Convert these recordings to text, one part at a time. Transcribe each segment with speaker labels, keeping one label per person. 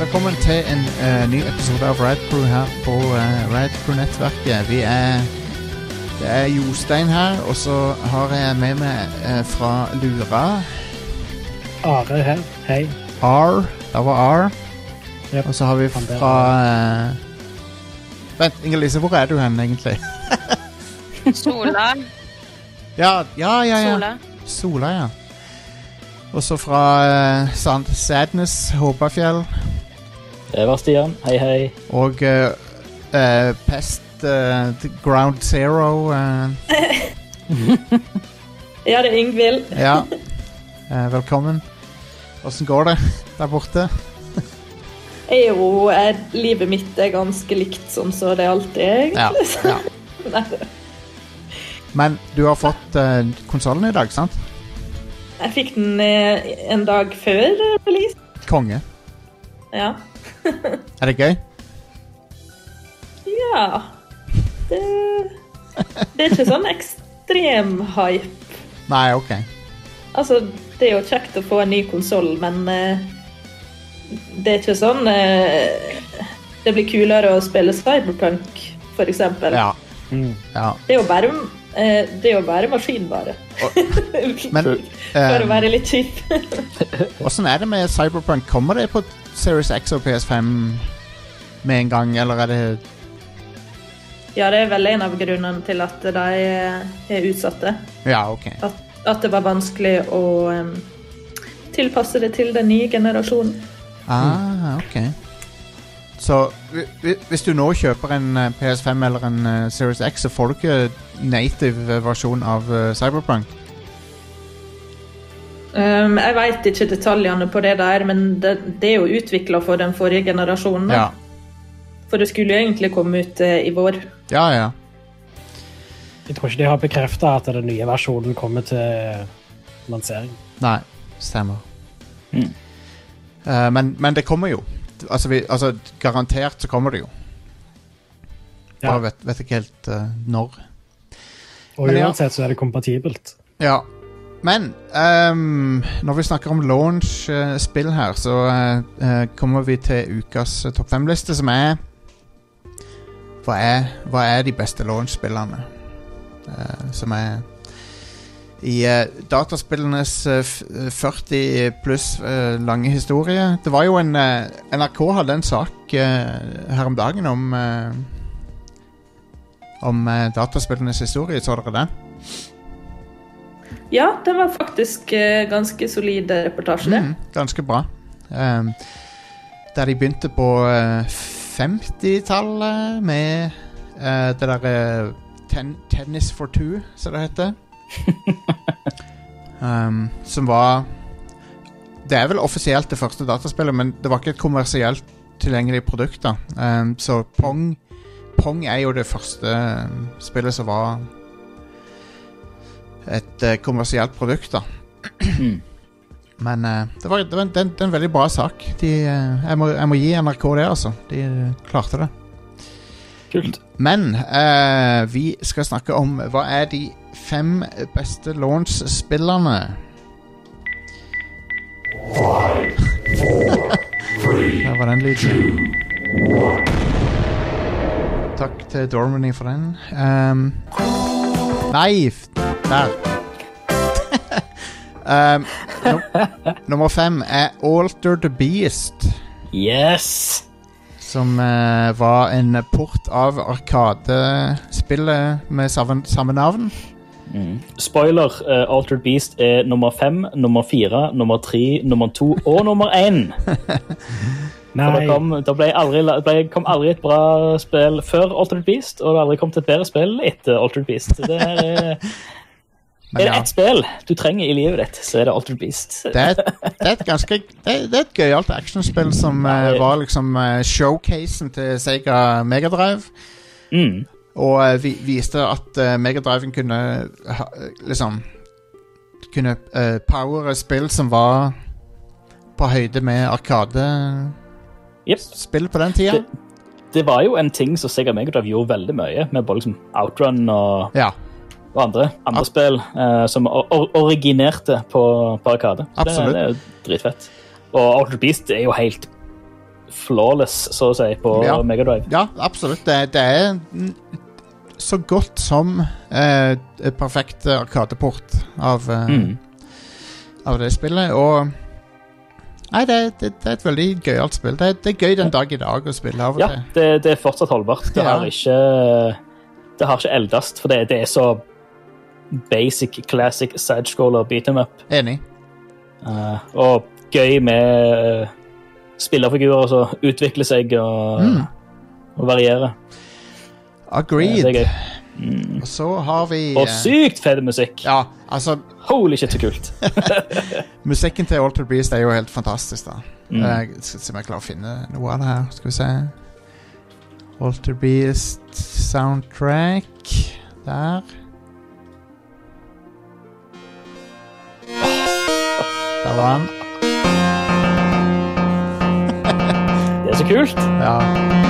Speaker 1: Velkommen til en eh, ny episode av Rad Crew her på uh, Rad Crew-nettverket. Vi er Det er Jostein her, og så har jeg med meg eh, fra Lura
Speaker 2: Are her. Hei.
Speaker 1: R. Der var R.
Speaker 2: Yep.
Speaker 1: Og så har vi
Speaker 2: Han der.
Speaker 1: fra eh, Vent, Inger-Lise, hvor er du hen egentlig?
Speaker 3: Sola.
Speaker 1: Ja, ja, ja. ja.
Speaker 3: Sola.
Speaker 1: Sola, ja. Og så fra eh, Sand Sadness, Håpafjell.
Speaker 4: Det var Eh, Stian. Hei, hei.
Speaker 1: Og eh, eh, Pest eh, t- Ground Zero eh,
Speaker 5: Ja, det er Ingvild.
Speaker 1: Ja. Eh, velkommen. Åssen går det der borte?
Speaker 5: Jeg er jo jeg, Livet mitt er ganske likt sånn som det alltid er.
Speaker 1: Ja. ja.
Speaker 5: Nei,
Speaker 1: Men du har fått eh, konsollen i dag, sant?
Speaker 5: Jeg fikk den eh, en dag før release.
Speaker 1: Konge.
Speaker 5: Ja.
Speaker 1: Er det gøy?
Speaker 5: ja. Det, det er ikke sånn ekstrem hype.
Speaker 1: Nei, OK.
Speaker 5: Altså, det er jo kjekt å få en ny konsoll, men eh, det er ikke sånn eh, Det blir kulere å spille Cyberpunk, for eksempel.
Speaker 1: Ja. ja.
Speaker 5: Det er jo bare, eh, det er jo bare maskinvare.
Speaker 1: Men
Speaker 5: For å
Speaker 1: eh,
Speaker 5: være litt kjip.
Speaker 1: åssen er det med Cyberpunk? Kommer det på Series X og PS5 med en gang, eller er det
Speaker 5: Ja, det er vel en av grunnene til at de eh, er utsatte.
Speaker 1: Ja, OK.
Speaker 5: At, at det var vanskelig å em, tilpasse det til den nye generasjonen.
Speaker 1: Ah, ok Så hvi- hvi- hvis du nå kjøper en eh, PS5 eller en eh, Series X, så får du ikke native eh, versjon av eh, Cyberpunk?
Speaker 5: Em, Um, jeg veit ikke detaljene på det der, men det, det er jo utvikla for den forrige generasjonen. da.
Speaker 1: Ja.
Speaker 5: For det skulle jo egentlig komme ut eh, i vår.
Speaker 1: Ja, ja.
Speaker 2: Jeg tror ikke de har bekrefta at den nye versjonen kommer til lansering.
Speaker 1: Nei, stemmer. Eh, men, men det kommer jo. Altså, vi, altså, garantert så kommer det jo.
Speaker 2: Ja.
Speaker 1: Bare vet, vet ikke helt eh, når.
Speaker 2: Og
Speaker 1: Men ja.
Speaker 2: uansett så er det kompatibelt.
Speaker 1: Ja. Men ehm, når vi snakker om launch-spill her, så eh, eh, kommer vi til ukas eh, topp fem-liste, som er hva, er hva er de beste launch-spillene? Eh, som er i eh, dataspillenes eh, f- eh, 40 pluss eh, lange historie. Det var jo en eh, NRK hadde en sak eh, her om dagen om eh, om eh, dataspillenes historie. Så dere den?
Speaker 5: Ja, det var faktisk eh, ganske solid reportasje, det.
Speaker 1: Mm, ganske bra. Ehm, der de begynte på eh, 50-tallet med eh, det derre ten Tennis for two, som det heter. Ehm, som var Det er vel offisielt det første dataspillet, men det var ikke et kommersielt tilgjengelig produkt. da Ehm, Så Pong Pong er jo det første eh, spillet som var et eh, kommersielt produkt, da. Men eh, det var, det var en, det er en- det er en veldig bra sak. De, eh, jeg, må, jeg må gi NRK det, altså. De eh, klarte det.
Speaker 4: Kult.
Speaker 1: Men eh, vi skal snakke om hva er de fem beste launch-spillerne. Der var den lyden. Takk til Dormany for den. Ehm, nei f- Der. Ehm, num nummer fem er Alter the Beast
Speaker 4: Yes!
Speaker 1: som eh, var en port av Arkadespillet med samme, samme navn.
Speaker 4: Spoiler. eh, Altered Beast er nummer fem, nummer fire, nummer tre, nummer to og nummer én. For
Speaker 2: Nei,
Speaker 4: Det kom, det ble aldri, det ble, kom aldri et bra spill før Altered Beast, og det har aldri kommet et bedre spill etter Altered Beast. Så Det her er, eh,
Speaker 1: Men
Speaker 4: er det
Speaker 1: ja,
Speaker 4: ett spill du trenger i livet ditt, så er det Altered Beast.
Speaker 1: det er, et- det er et ganske Det er, det er et gøyalt actionspill som eh, var liksom eh, showcasen til Sega Megadrive.
Speaker 4: Mm.
Speaker 1: Og eh, vi, viste at eh, Megadriven kunne ha, liksom Kunne eh, powere spill som var på høyde med Arkadespill
Speaker 4: Jep.
Speaker 1: på den tida.
Speaker 4: Det- Det var jo en ting som Sega Megadrive gjorde veldig mye, med både liksom Outrun og,
Speaker 1: Ja,
Speaker 4: og andre, andre spill eh, som or or- originerte på, på Arkade. Så
Speaker 1: Absolutt.
Speaker 4: Det, det er jo dritfett. Og Outer Beast er jo helt flawless, så å si, på
Speaker 1: Ja.
Speaker 4: Megadrive.
Speaker 1: Ja, absolutt. Det, det er n- så godt som eh, et perfekt eh, arkadeport av, eh,
Speaker 4: Mm.
Speaker 1: av det spillet. Og Nei, det, det, det er et veldig gøyalt spill. Det, det er gøy den dag i dag å spille av og
Speaker 4: Ja,
Speaker 1: til.
Speaker 4: det, det er fortsatt holdbart. Det
Speaker 1: Ja.
Speaker 4: har ikke Det har ikke eldast, for det, det er så basic, classic sidescroller beat em up.
Speaker 1: Enig.
Speaker 4: Eh, og gøy med eh, spillerfigurer som utvikler seg og,
Speaker 1: Mm.
Speaker 4: og varierer. Det er
Speaker 1: Agreed.
Speaker 4: gøy.
Speaker 1: Og så har vi
Speaker 4: Og
Speaker 1: eh,
Speaker 4: sykt fet musikk!
Speaker 1: Ja, altså
Speaker 4: Holy shit, så kult.
Speaker 1: Musikken til Alter Beast er jo helt fantastisk, da. Eh, Jeg skal se om jeg klarer å finne noe av det her. Skal vi se Alter Beast soundtrack Der. Der var han.
Speaker 4: Det er så kult.
Speaker 1: Ja.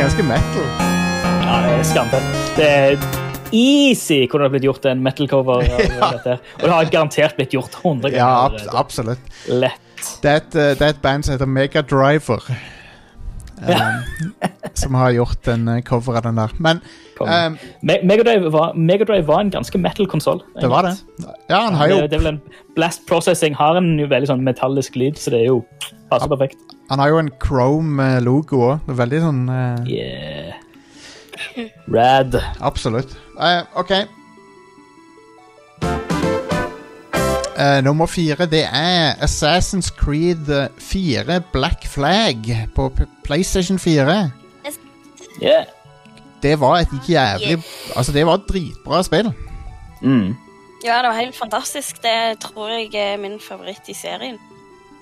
Speaker 1: Ganske metal.
Speaker 4: Ja, det er skamfett. Det er easy kunne det blitt gjort en metal-cover av dette. her. Og det har garantert blitt gjort 100 ganger.
Speaker 1: Ja, abs
Speaker 4: allerede.
Speaker 1: absolutt.
Speaker 4: Lett.
Speaker 1: Det er et, eh, det er et band som heter Mega Driver. Um, som har gjort en eh, cover av den der. Men
Speaker 4: Kom.
Speaker 1: um,
Speaker 4: Me- Megadrive var, Megadrive var en ganske metal-konsoll.
Speaker 1: det var det. Ja, han har jo,
Speaker 4: Det, det er vel en Blast Processing har en jo veldig sånn metallisk lyd, så det er jo passer perfekt.
Speaker 1: han har jo en uh, Chrome-logo òg. Veldig sånn eh,
Speaker 4: Yeah. Rad.
Speaker 1: Absolutt. Eh, OK. Eh, nummer fire det er Assassin's Creed eh, 4 Black Flag på P PlayStation 4.
Speaker 4: Yeah.
Speaker 1: Det var et jævlig Altså, det var et dritbra spill.
Speaker 4: Mm.
Speaker 6: Ja, det var helt fantastisk. Det tror jeg er min favoritt i serien.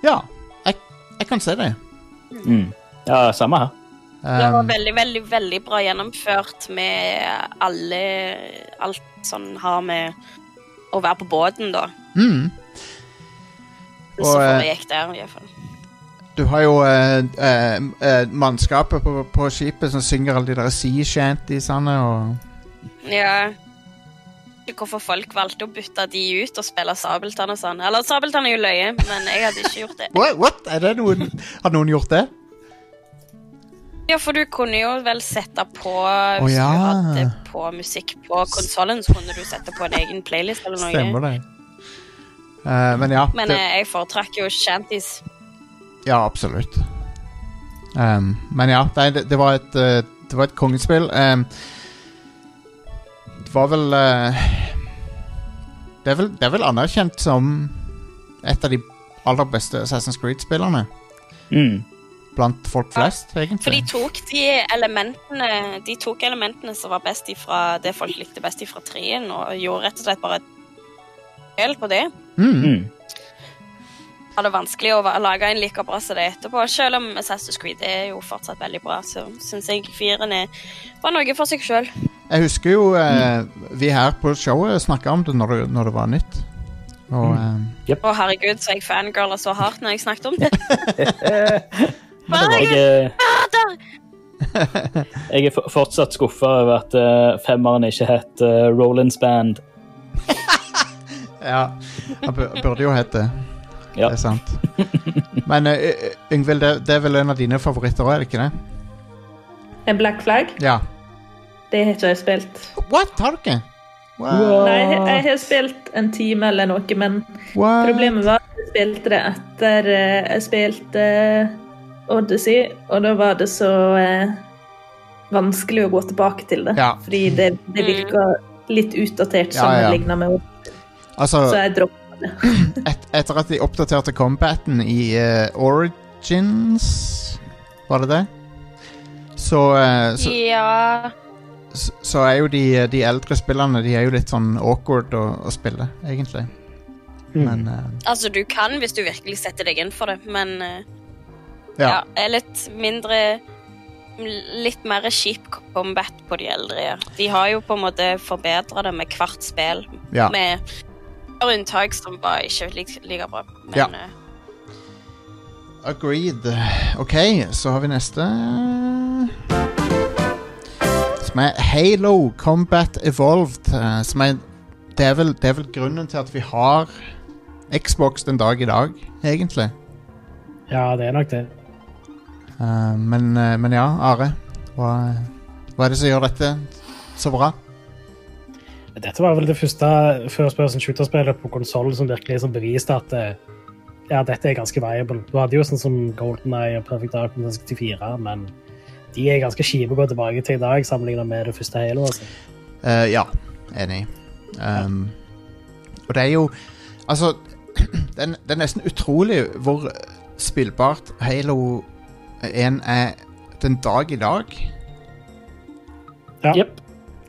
Speaker 1: Ja, jeg, jeg kan se det.
Speaker 4: Mm. Ja, samme her.
Speaker 6: Det var
Speaker 1: Um,
Speaker 6: veldig, veldig veldig bra gjennomført med alle Alt sånn har med å være på båten, da.
Speaker 1: mm.
Speaker 6: Så
Speaker 1: Og, eh,
Speaker 6: foregikk der, i hvert fall.
Speaker 1: Du har jo eh, eh, eh, mannskapet på, på skipet som synger alle de der sea shantiesene og
Speaker 6: Ja. Ikke hvorfor folk valgte å bytte de ut og spille Sabeltann og sånn. Eller Sabeltann er jo løye, men jeg hadde ikke gjort det.
Speaker 1: What? What? Er det noen, har noen gjort det?
Speaker 6: Ja, for du kunne jo vel sette på Hvis
Speaker 1: ja.
Speaker 6: du hadde på musikk på konsollen, så kunne du sette på en egen playlist eller noe.
Speaker 1: Stemmer det. Eh, men ja,
Speaker 6: Men
Speaker 1: det,
Speaker 6: eh, jeg foretrakk jo shanties.
Speaker 1: ja absolutt. Um, men ja, nei, det, det var et eh, Det var et kongespill. Um, det var vel, eh, det er vel Det er vel anerkjent som et av de aller beste Assassin's Creed-spillerne.
Speaker 4: Mm.
Speaker 1: Blant folk
Speaker 6: Ja,
Speaker 1: flest, egentlig.
Speaker 6: For de tok de elementene De tok elementene som var best ifra det folk likte best ifra trien, og gjorde rett og slett bare et del på det.
Speaker 1: mm.
Speaker 4: Mm.
Speaker 6: Var det vanskelig å va- lage en like bra som det etterpå, selv om Assassin's Creed er jo fortsatt veldig bra, så syns jeg firen er var noe for seg sjøl.
Speaker 1: Jeg husker jo eh,
Speaker 5: Mm.
Speaker 1: vi her på showet snakka om det når, det når det var nytt. Og
Speaker 5: Mm.
Speaker 1: eh,
Speaker 6: Å herregud, så jeg fangirla så hardt når jeg snakket om det.
Speaker 4: Jeg er, jeg er for- fortsatt skuffa over at eh, femmeren ikke het uh, Rollins Band.
Speaker 1: ja, han bu- burde jo hett det.
Speaker 4: Ja.
Speaker 1: Det er sant. Men eh, eh, Yngvild, det, det er vel en av dine favoritter òg, er det ikke det?
Speaker 5: En black flag?
Speaker 1: Ja.
Speaker 5: Det har ikke jeg spilt.
Speaker 1: What? Har du ikke? Wow.
Speaker 4: Wow.
Speaker 5: Nei, jeg- jeg har spilt en time eller noe, men
Speaker 1: What?
Speaker 5: problemet var at jeg spilte det etter eh, jeg spilte eh, Odyssey, og da var det så eh, vanskelig å gå tilbake til det.
Speaker 1: Ja.
Speaker 5: Fordi det, det
Speaker 4: Mm.
Speaker 5: virka litt utdatert
Speaker 1: Ja, ja.
Speaker 5: sammenligna med Odyssey, så
Speaker 1: Altså,
Speaker 5: jeg droppa det.
Speaker 1: et, etter at de oppdaterte combaten i eh, Origins Var det det? Så, eh, så
Speaker 6: Ja
Speaker 1: så så er jo de, de eldre spillerne De er jo litt sånn awkward å, å spille, egentlig. Men eh,
Speaker 6: Altså, du kan hvis du virkelig setter deg inn for det, men eh,
Speaker 1: ja.
Speaker 6: ja, er litt mindre Litt mer kjip combat på de eldre. ja. De har jo på en måte forbedra det med hvert spill,
Speaker 1: ja.
Speaker 6: med et par unntak som var ikke like, like bra. Men
Speaker 1: Ja.
Speaker 6: eh,
Speaker 1: Agreed. OK, så har vi neste. Som er Halo Combat Evolved. eh, Som er det er, vel, det er vel grunnen til at vi har Xbox den dag i dag, egentlig.
Speaker 2: Ja, det er nok det.
Speaker 1: Eh, men, eh, men ja, Are. Hva, hva er det som gjør dette så bra?
Speaker 2: Dette var vel det første first person shooter-spillet på konsoll som virkelig som beviste at eh, ja, dette er ganske viable. Du hadde jo sånn som Golden Eye og Perfect Dark 64, men de er ganske kjipe å gå tilbake til i dag sammenlignet med det første Halo. Altså.
Speaker 1: Eh, ja, enig. Um, og det er jo Altså, det er, det er nesten utrolig hvor spillbart Halo 1 er den dag i dag.
Speaker 2: Ja,
Speaker 4: Jepp.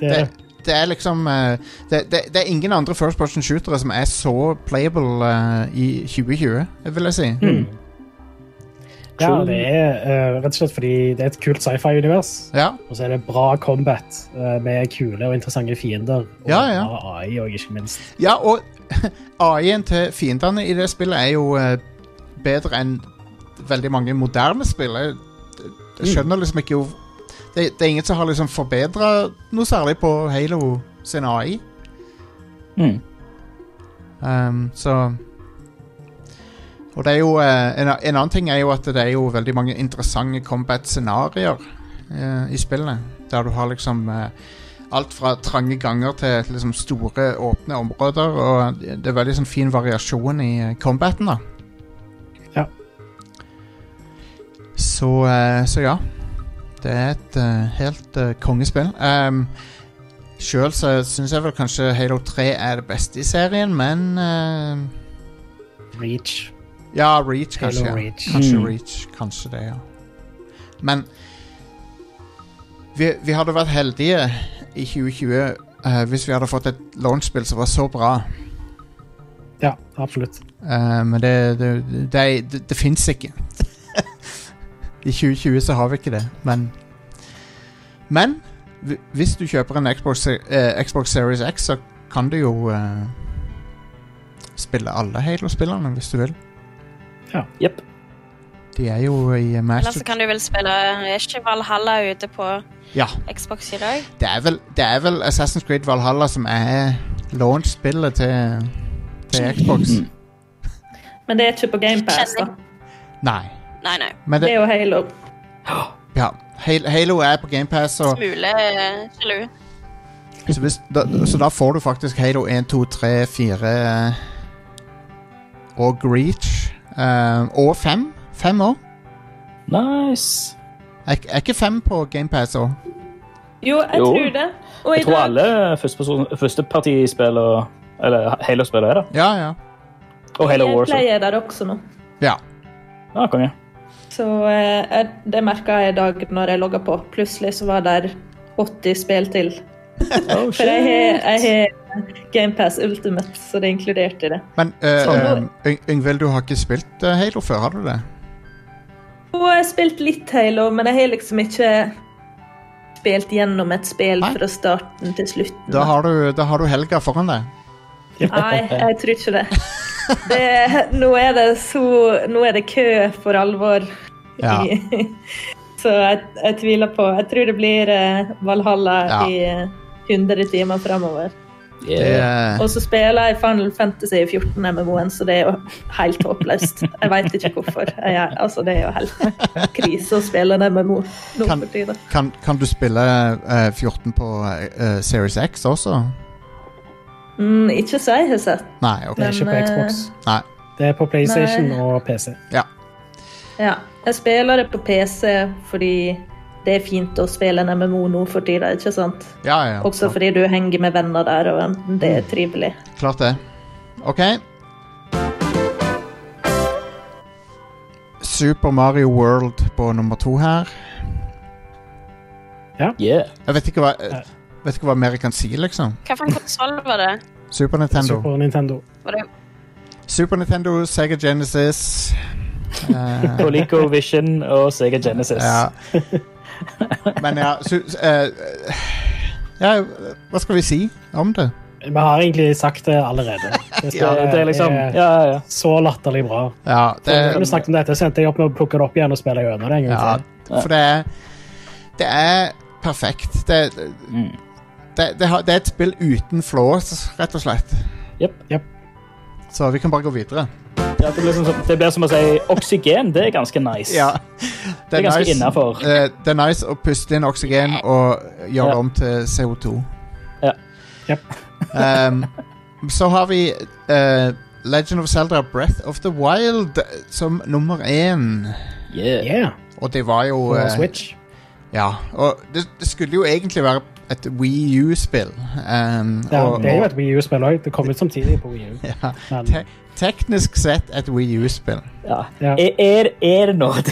Speaker 2: det er
Speaker 1: det,
Speaker 2: det.
Speaker 1: det er liksom eh, det, det, det er ingen andre first person shootere som er så playable eh, i 2020, vil jeg si.
Speaker 2: Ja, det er eh, rett og slett fordi det er et kult sci-fi-univers,
Speaker 1: Ja,
Speaker 2: og så er det bra combat eh, med kule og interessante fiender, og
Speaker 1: Ja, ja.
Speaker 2: bra AI og ikke minst.
Speaker 1: ja og AI-en til fiendene i det spillet er jo eh, bedre enn veldig mange moderne spill. Jeg, jeg skjønner liksom ikke hvor det, det er ingen som har liksom forbedra noe særlig på Halo sin AI.
Speaker 4: Mm.
Speaker 1: Um, så Og det er jo eh, en, en annen ting er jo at det er jo veldig mange interessante combat-scenarioer eh, i spillene. Der du har liksom eh, alt fra trange ganger til liksom store, åpne områder. Og det er veldig sånn fin variasjon i eh, combaten, da.
Speaker 2: Ja.
Speaker 1: Så, eh, så ja. Det er et eh, helt eh, kongespill. Um, Sjøl så syns jeg vel kanskje Halo 3 er det beste i serien, men eh,
Speaker 2: Reach.
Speaker 1: Ja, Reach, kanskje.
Speaker 2: Halo
Speaker 1: ja.
Speaker 2: Reach.
Speaker 1: Kanskje
Speaker 4: Mm.
Speaker 1: Reach. Kanskje det, ja. Men vi, vi hadde vært heldige i 2020 eh, hvis vi hadde fått et launchspill som var så bra.
Speaker 2: Ja, absolutt.
Speaker 1: Eh, men det, det, det, det, det fins ikke. I 2020 så har vi ikke det, men Men hvi- hvis du kjøper en Xbox, Se- eh, Xbox Series X, så kan du jo eh, spille alle Halo-spillerne hvis du vil.
Speaker 4: Jepp.
Speaker 1: De er jo i
Speaker 6: Eller
Speaker 1: Master
Speaker 6: så kan du vel spille Er ikke Valhalla ute på
Speaker 1: Ja.
Speaker 6: Xbox i dag?
Speaker 1: Det er vel, det er vel Assassin's Creed Valhalla som er launch-spillet til, til Xbox.
Speaker 5: Men det er ikke på GamePass, da.
Speaker 1: Nei.
Speaker 6: Nei, nei.
Speaker 1: Men
Speaker 5: Det
Speaker 1: det,
Speaker 5: er jo Halo.
Speaker 1: ja. Hal- Halo er på GamePass, og
Speaker 6: Smule eh, sjalu.
Speaker 1: så, hvis, da, så da får du faktisk Halo 1, 2, 3, 4 eh, og Greach. eh, og 5. 5 òg.
Speaker 4: Nice.
Speaker 1: Er, ikke- er ikke 5 på GamePass òg?
Speaker 5: Jo, jeg
Speaker 4: Jo.
Speaker 5: tror det. Og i
Speaker 4: Jeg tror
Speaker 5: dag
Speaker 4: alle førsteperson- førstepartispillere Eller Halo-spillere er det.
Speaker 1: Ja, ja.
Speaker 4: Og Halo Warzone.
Speaker 5: Gameplay er der også nå.
Speaker 1: Ja.
Speaker 4: Ja, konge.
Speaker 5: Så eh, jeg, det merka jeg i dag når jeg logga på. Plutselig så var der 80 spill til.
Speaker 4: Oh,
Speaker 5: For jeg har- jeg har GamePass Ultimate, så det er inkludert i det.
Speaker 1: Men eh,
Speaker 5: Sånn.
Speaker 1: eh, Yng- Yngvild, du har ikke spilt eh, Halo før, har du det?
Speaker 5: Og jeg har spilt litt Halo, men jeg har liksom ikke spilt gjennom et spill
Speaker 1: Nei.
Speaker 5: fra starten til slutten.
Speaker 1: Da har du, da har du helga foran deg.
Speaker 5: Nei, jeg tror ikke det. det nå, er det så, nå er det kø for alvor.
Speaker 1: Ja.
Speaker 5: I, så jeg, jeg tviler på Jeg tror det blir eh, Valhalla
Speaker 1: Ja.
Speaker 5: i eh, 100 timer framover.
Speaker 1: Det,
Speaker 4: Yeah.
Speaker 1: eh,
Speaker 5: Og så spiller jeg Final Fantasy 14 MMO-en, så det er jo helt håpløst. Jeg veit ikke hvorfor. Jeg, er- altså, det er jo helt krise å spille en MMO nå
Speaker 1: Kan-
Speaker 5: for tida.
Speaker 1: Kan, kan du spille eh, 14 på eh, Series X også?
Speaker 5: Mm, ikke så jeg har sett.
Speaker 1: Nei, ok.
Speaker 2: Det er ikke på
Speaker 4: eh,
Speaker 5: Men,
Speaker 2: Xbox.
Speaker 1: Nei.
Speaker 2: Det er på PlayStation
Speaker 5: Nei.
Speaker 2: og PC.
Speaker 5: Ja. Jeg spiller det på PC fordi det er fint å spille en MMO nå for tida, ikke sant?
Speaker 1: Ja, ja. Mm.
Speaker 5: Også fordi du henger med venner der, og det er trivelig.
Speaker 1: Klart det. Ok. Super Mario World på nummer to her.
Speaker 4: Yeah.
Speaker 1: Jeg vet ikke hva, eh, vet ikke hva mer jeg kan si, liksom.
Speaker 6: Hvilken konsoll var det?
Speaker 1: Super Nintendo.
Speaker 2: Super Nintendo.
Speaker 6: Var det
Speaker 1: Super Nintendo, Sega Genesis eh,
Speaker 4: Coleco Vision og Sega Genesis.
Speaker 1: Ja. Men ja su, su- eh, Ja, hva skal vi si om det?
Speaker 2: Vi har egentlig sagt det allerede. Det
Speaker 4: Ja, det er liksom Ja, ja, ja.
Speaker 2: så latterlig bra.
Speaker 1: Ja, det
Speaker 2: Når vi snakket om dette, så endte jeg opp med å plukke det opp igjen og spille gjennom det. en gang
Speaker 1: Ja,
Speaker 2: til.
Speaker 1: for det er Det er perfekt. Det,
Speaker 4: Mm.
Speaker 1: det, det, har- det er et spill uten flås, rett og slett.
Speaker 4: Jep.
Speaker 2: Jep.
Speaker 1: Så vi kan bare gå videre.
Speaker 4: Ja, det, blir sånn som- det blir som å si oksygen. Det er ganske nice.
Speaker 1: Det
Speaker 4: Det er ganske innenfor.
Speaker 1: eh, det er nice å puste inn oksygen og gjøre
Speaker 4: Ja.
Speaker 1: det om til CO2.
Speaker 4: Ja.
Speaker 2: Jep.
Speaker 1: Ehm, så har vi eh, Legend of Zelda Breath of the Wild som nummer én.
Speaker 4: Yeah.
Speaker 2: Yeah,
Speaker 1: Og det var jo
Speaker 2: på
Speaker 1: eh,
Speaker 2: Switch.
Speaker 1: Ja, og det, det skulle jo egentlig være et Wii U-spill. ehm,
Speaker 2: Ja,
Speaker 1: og-
Speaker 2: det er jo
Speaker 1: og-
Speaker 2: et Wii U-spill òg. Det kom ut samtidig på Wii U.
Speaker 1: ja,
Speaker 2: Men
Speaker 1: te teknisk sett et Wii U-spill.
Speaker 4: Ja.
Speaker 2: Ja.
Speaker 4: Er, er, er det noe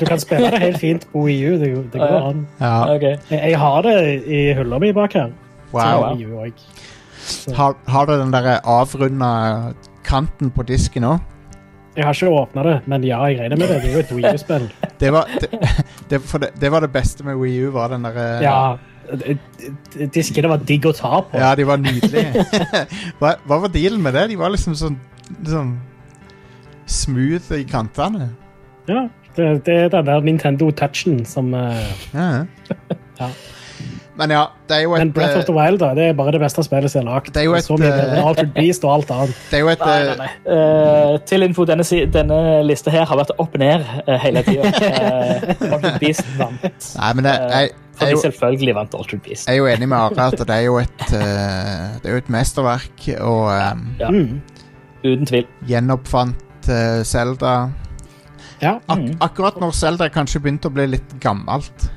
Speaker 2: du kan spille det helt fint på Wii U. Det, det
Speaker 4: Ja,
Speaker 2: går
Speaker 4: ja.
Speaker 2: an.
Speaker 1: Ja, Eh,
Speaker 4: Ok.
Speaker 2: Jeg, jeg har det i hylla mi bak her.
Speaker 1: Ah, wow.
Speaker 4: wow.
Speaker 2: Wii U også.
Speaker 1: Har, har du den der eh, avrunda kanten på disken òg?
Speaker 2: Jeg har ikke åpna det, men ja, jeg regner med det. Det er jo et Wii U-spill.
Speaker 1: Det var det, det, for det, det var det beste med Wii U, var den eh, derre
Speaker 2: Ja, d- d- diskene var digg å ta på.
Speaker 1: Ja, de var nydelige. hva, hva var dealen med det? De var liksom sånn liksom smooth i kantene.
Speaker 2: Ja, det, det er den der Nintendo Touchen som eh,
Speaker 1: Ja.
Speaker 2: Ja.
Speaker 1: Men ja, det er jo
Speaker 2: Men
Speaker 1: et
Speaker 2: Breath of the
Speaker 1: eh,
Speaker 2: Wild da, det er bare det beste spillet som er lagd.
Speaker 1: Det er jo et,
Speaker 2: så mye bedre enn
Speaker 1: eh,
Speaker 2: Altered Beast og alt annet.
Speaker 1: Det er jo et
Speaker 4: Nei, nei,
Speaker 1: eh,
Speaker 4: nei. Eh, til info, denne, si- denne lista her har vært opp og ned eh, hele tida. Altered Beast vant.
Speaker 1: Nei, men
Speaker 2: Eh,
Speaker 1: det, jeg, jeg,
Speaker 4: For
Speaker 1: er
Speaker 4: de
Speaker 1: jo-
Speaker 4: selvfølgelig vant Altered Beast.
Speaker 1: jeg er jo enig med Are at det er jo et eh, Det er jo et mesterverk, og um,
Speaker 4: Ja.
Speaker 2: Mm.
Speaker 4: Uten tvil.
Speaker 1: gjenoppfant eh, Zelda.
Speaker 2: Ja.
Speaker 1: Ak
Speaker 4: Mhm.
Speaker 1: Akkurat når Zelda kanskje begynte å bli litt gammelt.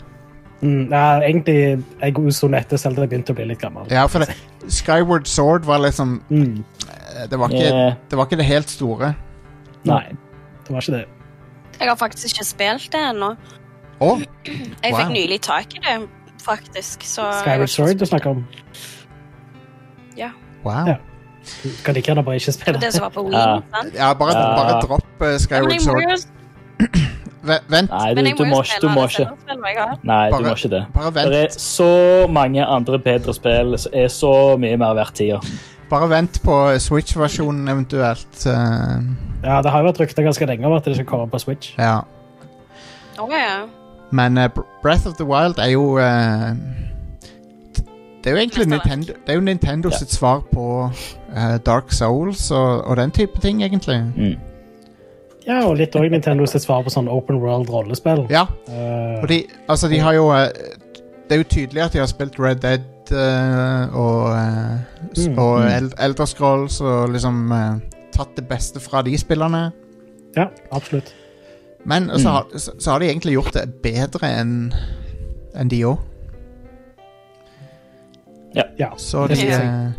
Speaker 2: Mm, nei, egentlig en god stund sånn etter selv da jeg begynte å bli litt gammel.
Speaker 1: Ja, for det, Skyward Sword var liksom
Speaker 2: Mm.
Speaker 1: eh, det var, ikke,
Speaker 4: Eh,
Speaker 1: det var ikke det helt store.
Speaker 2: Nei, det var ikke det.
Speaker 6: Jeg har faktisk ikke spilt det ennå.
Speaker 1: Å,
Speaker 6: Jeg
Speaker 1: Wow.
Speaker 6: fikk nylig tak i det, faktisk. Så jeg har
Speaker 2: Skyward
Speaker 6: ikke
Speaker 2: Sword du snakker om.
Speaker 1: wow.
Speaker 2: Ja. Du kan like gjerne bare ikke
Speaker 6: spilt
Speaker 2: spille.
Speaker 6: Det som var på Wii.
Speaker 4: Ja.
Speaker 6: sant?
Speaker 1: Ja, bare,
Speaker 4: Ja.
Speaker 1: bare dropp eh,
Speaker 6: Men
Speaker 1: Skyward
Speaker 6: jeg må
Speaker 1: Sword.
Speaker 6: jo,
Speaker 1: Ve- Vent,
Speaker 4: nei, du,
Speaker 6: men jeg
Speaker 4: du,
Speaker 6: må
Speaker 4: må,
Speaker 6: jo
Speaker 4: ikke- du
Speaker 6: spille
Speaker 4: må
Speaker 6: alle
Speaker 4: ikke
Speaker 6: Zelda-spillene jeg har.
Speaker 4: Nei, du
Speaker 1: Bare-
Speaker 4: må ikke det.
Speaker 1: bare
Speaker 4: Det er
Speaker 1: vent,
Speaker 4: så mange andre bedre spill som er så mye mer verdt tida.
Speaker 1: bare vent på Switch-versjonen eventuelt. eh,
Speaker 2: Ja, det har jo vært rykter ganske lenge om at det skal komme på Switch.
Speaker 1: ja.
Speaker 6: Å, ja.
Speaker 1: Men eh, Br- Breath of the Wild er jo eh, Det er jo egentlig
Speaker 6: Mesterverk.
Speaker 1: Nintendo, det er jo Nintendo
Speaker 4: Ja.
Speaker 1: sitt svar på eh, Dark Souls og, og den type ting, egentlig.
Speaker 4: Mm.
Speaker 2: Ja, og litt òg Nintendo sitt svar på sånn open world rollespill.
Speaker 1: Ja,
Speaker 2: Eh,
Speaker 1: og de, altså, de har jo eh, Det er jo tydelig at de har spilt Red Dead eh, og, eh, s-
Speaker 2: Mm.
Speaker 1: og
Speaker 4: Mm.
Speaker 1: Eld Elder Scrolls og liksom eh, tatt det beste fra de spillerne.
Speaker 2: ja, absolutt.
Speaker 1: Men så,
Speaker 4: Mm.
Speaker 1: har, så, så har de egentlig gjort det bedre enn enn de òg.
Speaker 2: Ja.
Speaker 1: Så
Speaker 2: det
Speaker 1: de
Speaker 2: synes jeg.
Speaker 1: eh,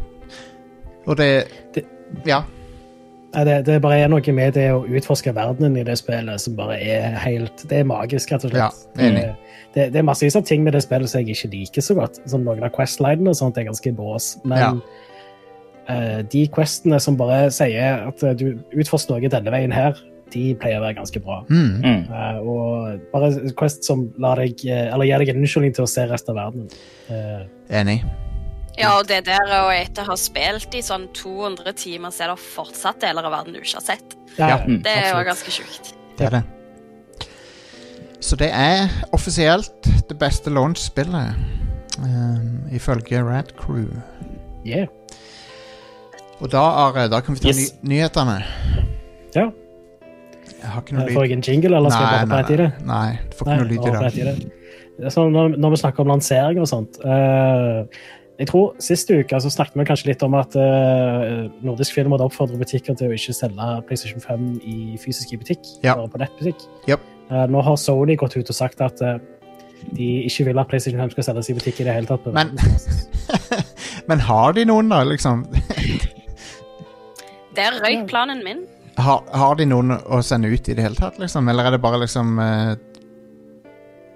Speaker 1: Og det
Speaker 2: Det-
Speaker 1: Ja.
Speaker 2: Nei, Det, det bare er noe med det å utforske verdenen i det spillet som bare er helt Det er magisk, rett og slett.
Speaker 1: Ja,
Speaker 2: Eh,
Speaker 1: enig.
Speaker 2: Det, det er massevis av ting med det spillet som jeg ikke liker så godt. Som noen av questlinene og sånt er ganske bås. Men
Speaker 1: Ja.
Speaker 2: eh, de questene som bare sier at eh, du utforsker noe denne veien her, de pleier å være ganske bra.
Speaker 1: Mm.
Speaker 4: Mm.
Speaker 2: Eh, og bare quest som lar deg, eh, eller gir deg en unnskyldning til å se resten av verden. Eh,
Speaker 1: Enig.
Speaker 6: ja, og det der og etter å ha spilt i sånn 200 timer, så er det fortsatt deler av verden du ikke har sett.
Speaker 2: ja,
Speaker 1: Ja.
Speaker 4: Mm.
Speaker 6: Det er jo
Speaker 2: absolutt.
Speaker 6: ganske sjukt.
Speaker 1: Det er det. Så det er offisielt det beste launch-spillet, um, ifølge Rad Crew.
Speaker 2: Yeah.
Speaker 1: Og da, Are, da kan vi ta
Speaker 4: Yes.
Speaker 1: ny nyhetene.
Speaker 2: Ja.
Speaker 1: Jeg har ikke noe
Speaker 2: Eh, Får
Speaker 1: lyd.
Speaker 2: jeg en jingle, eller skal jeg bare
Speaker 1: nei,
Speaker 2: prate i det?
Speaker 1: nei. Du får ikke noe lyd i
Speaker 2: Nei,
Speaker 1: dag.
Speaker 2: jeg har rett i det. Det er sånn når, når vi snakker om lansering og sånt eh, Jeg tror Sist uke så snakket vi kanskje litt om at eh, Nordisk Film hadde oppfordret butikker til å ikke selge PlayStation 5 i fysisk i butikk,
Speaker 1: Ja.
Speaker 2: bare på nettbutikk.
Speaker 1: Japp.
Speaker 2: Eh, nå har Sony gått ut og sagt at eh, de ikke vil at PlayStation 5 skal selges i butikk i det hele tatt. på
Speaker 1: Men-
Speaker 2: verdensbasis.
Speaker 1: Men har de noen, da? liksom?
Speaker 6: Der røyk planen min.
Speaker 1: Har, har de noen å sende ut i det hele tatt, liksom? Eller er det bare liksom eh,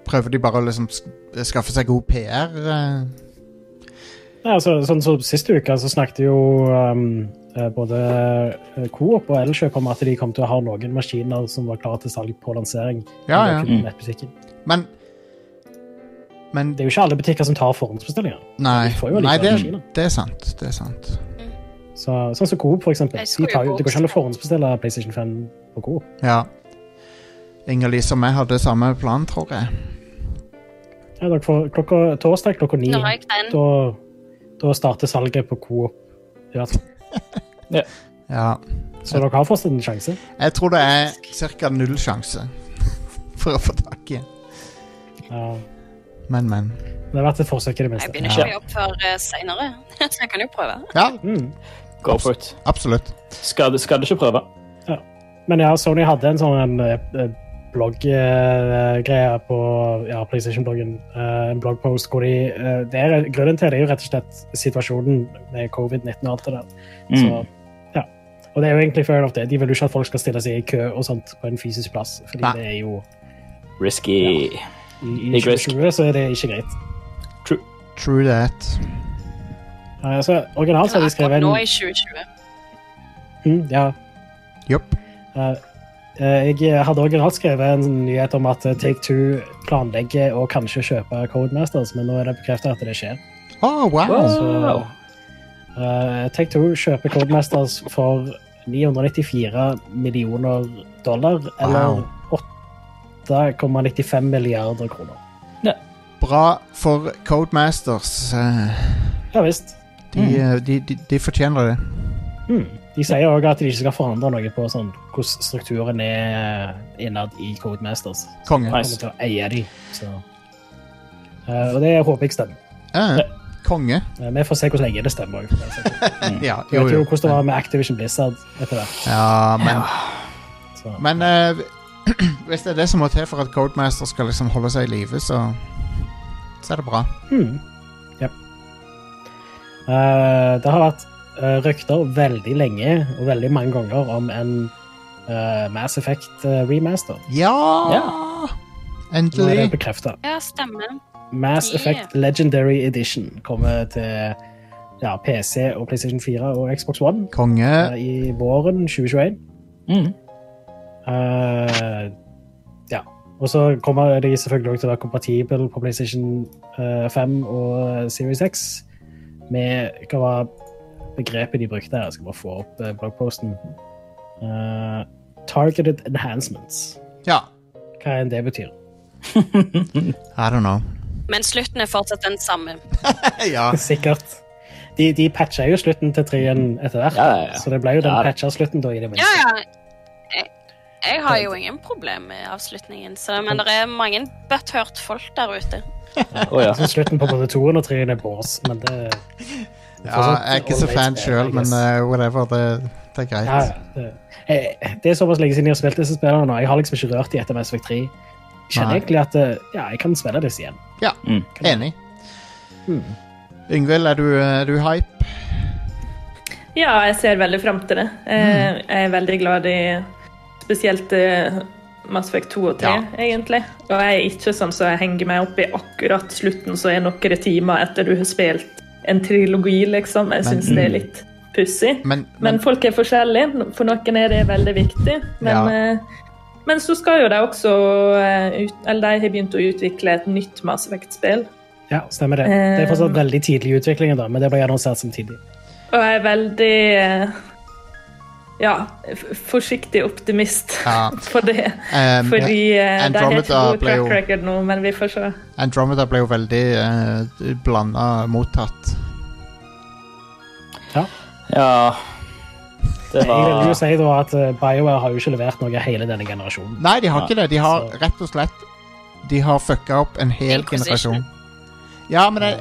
Speaker 1: Prøver de bare å liksom sk- skaffe seg god PR? eh?
Speaker 2: Nei, altså, sånn som Sist uke så snakket jo ehm, eh, både eh, Coop og Elkjøp om at de kom til å ha noen maskiner som var klare til salg på lansering.
Speaker 1: Ja, ja.
Speaker 2: Men det
Speaker 6: Mm.
Speaker 2: er kun nettbutikken.
Speaker 1: Men Men
Speaker 2: Det er jo ikke alle butikker som tar forhåndsbestillinger.
Speaker 1: Nei,
Speaker 2: de får jo
Speaker 1: nei det,
Speaker 2: likevel maskiner.
Speaker 1: det er sant. Det er sant.
Speaker 2: Så, sånn som Coop, for eksempel.
Speaker 6: Jeg
Speaker 2: De
Speaker 6: skulle
Speaker 2: tar jo,
Speaker 6: jo
Speaker 2: det går ikke an å forhåndsbestille PlayStation 5 på Coop.
Speaker 1: Ja. Inger-Lise og meg hadde samme plan, tror jeg.
Speaker 2: Ja, dere får klokka, torsdag klokka ni.
Speaker 6: Når jeg kan.
Speaker 2: Da, da starter salget på Coop. Ja,
Speaker 1: Ja.
Speaker 2: så dere har fortsatt en sjanse.
Speaker 1: Jeg tror det er ca. null sjanse for å få tak i en.
Speaker 2: Ja.
Speaker 1: Men, men.
Speaker 2: Det har vært et forsøk i det
Speaker 6: Jeg
Speaker 2: minste.
Speaker 6: begynner ikke å jobbe før eh, senere, så jeg kan jo prøve.
Speaker 1: Ja,
Speaker 2: Mm.
Speaker 4: Go for it.
Speaker 1: absolutt.
Speaker 4: Skal, skal du ikke prøve?
Speaker 2: Men ja, Sony hadde en sånn en, eh, blogg-greie på ja, PlayStation-bloggen. eh, En bloggpost hvor de eh, det er, Grunnen til det er jo rett og slett situasjonen med covid-19 og alt det der. Så,
Speaker 4: Mm.
Speaker 2: ja. Og det er jo egentlig fair enough det. De vil jo ikke at folk skal stille seg i kø og sånt på en fysisk plass. Fordi
Speaker 1: Nei.
Speaker 2: det er jo
Speaker 4: Risky.
Speaker 2: I, i
Speaker 4: Big risk.
Speaker 2: 2020 så er det ikke greit.
Speaker 1: True that.
Speaker 2: Eh, Så originalt så har de skrevet
Speaker 6: Nå
Speaker 2: en
Speaker 6: i 2020.
Speaker 2: Mm, Ja.
Speaker 1: Jopp.
Speaker 2: Eh, eh, Jeg hadde originalt skrevet en nyhet om at eh, Take Two planlegger å kanskje kjøpe Codemasters, men nå er det bekreftet at det skjer.
Speaker 1: Å, Oh, wow!
Speaker 2: Så, eh, Take Two kjøper Codemasters for 994 millioner dollar, eller 8,95 milliarder kroner.
Speaker 1: Bra for Codemasters. Eh,
Speaker 2: Ja visst.
Speaker 1: De, eh, de, de, de fortjener det.
Speaker 2: Mm. De sier òg at de ikke skal forandre noe på sånn, hvordan strukturen er eh, innad i Codemasters.
Speaker 1: Konge.
Speaker 2: Kommer til å eie de. Så. Eh, og det håper jeg stemmer.
Speaker 1: Eh, konge.
Speaker 2: Eh, vi får se hvor lenge det stemmer. også, for det er sant.
Speaker 1: Ja,
Speaker 2: Du vet jo hvordan det var med Activision Blizzard etter hvert.
Speaker 1: Ja, men
Speaker 2: Så.
Speaker 1: Men eh, hvis det er det som må til for at Codemaster skal liksom holde seg i live, så Så er det bra.
Speaker 2: Mm. Ja. Eh, det har vært eh, rykter veldig lenge og veldig mange ganger om en eh, Mass Effect eh, remaster.
Speaker 1: Ja!
Speaker 2: Nå er det
Speaker 1: Endelig.
Speaker 2: bekrefta.
Speaker 6: Ja, stemmer.
Speaker 2: Mass
Speaker 6: Yeah.
Speaker 2: Effect Legendary Edition kommer til ja, PC og PlayStation 4 og Xbox One eh,
Speaker 1: Konge.
Speaker 2: i våren 2021.
Speaker 4: Mm.
Speaker 2: Eh, ja. Og så kommer de selvfølgelig også til å være kompatible på PlayStation eh, 5 og Series X med hva var begrepet de brukte her. Jeg skal bare få opp eh, bloggposten. Eh, targeted enhancements.
Speaker 1: Ja.
Speaker 2: Hva enn det betyr.
Speaker 1: I don't know.
Speaker 6: Men slutten er fortsatt den samme.
Speaker 1: ja.
Speaker 2: Sikkert. De, de patcha jo slutten til treen etter hvert,
Speaker 4: Ja, ja, ja.
Speaker 2: så det ble jo den
Speaker 4: Ja.
Speaker 2: patcha slutten da i det
Speaker 6: Ja,
Speaker 2: minste.
Speaker 6: ja. Jeg, jeg har jo ingen problem med avslutningen, så, men det er mange butthørt folk der ute.
Speaker 4: Å ja.
Speaker 2: Så slutten på både toeren og treen er bås, men det
Speaker 1: ja. Jeg er ikke så fan sjøl, men eh, whatever. Det, det er
Speaker 2: Ja,
Speaker 1: greit.
Speaker 2: ja. det, eh, det er såpass lenge siden jeg har spilt disse spillene nå. Jeg har liksom ikke rørt de etter Mass Effect 3. Jeg kjenner
Speaker 1: Nei.
Speaker 2: egentlig at eh, ja, jeg kan spille disse igjen.
Speaker 1: Ja.
Speaker 4: Mm.
Speaker 1: Enig.
Speaker 2: Hmm.
Speaker 1: Yngvild, er du, er du hype?
Speaker 5: Ja, jeg ser veldig fram til det. Eh,
Speaker 1: Mm.
Speaker 5: Jeg er veldig glad i spesielt eh, Mass Effect 2 og 3,
Speaker 1: Ja.
Speaker 5: egentlig. Og jeg er ikke sånn som jeg henger meg opp i akkurat slutten, så er noen timer etter du har spilt en trilogi, liksom. Jeg syns
Speaker 1: mm.
Speaker 5: det er litt pussig.
Speaker 1: Men,
Speaker 5: Men folk er forskjellige. For noen er det veldig viktig. Men,
Speaker 1: Ja.
Speaker 5: eh, men så skal jo de også eh, ut, Eller de har begynt å utvikle et nytt Mass Effect-spill.
Speaker 2: Ja, stemmer det. Det er fortsatt
Speaker 1: Eh.
Speaker 2: veldig tidlig i utviklingen, da, men det ble annonsert samtidig.
Speaker 5: Og jeg er veldig eh, ja, f- forsiktig optimist
Speaker 1: Ja.
Speaker 5: for det.
Speaker 1: ehm,
Speaker 5: Fordi eh, de har ikke
Speaker 1: Andromeda
Speaker 5: god
Speaker 1: ble jo-
Speaker 5: track record nå, men vi får se.
Speaker 1: Andromeda ble jo veldig uh, blanda mottatt.
Speaker 4: ja.
Speaker 1: Ah.
Speaker 4: Det
Speaker 2: Jeg vil
Speaker 4: var
Speaker 2: jo si da at eh, BioWare har jo ikke levert noe hele denne generasjonen.
Speaker 1: Nei, de har ikke det. De har
Speaker 2: så-
Speaker 1: rett og slett De har fucka opp en hel
Speaker 6: Inquisition.
Speaker 1: generasjon. Ja, men jeg,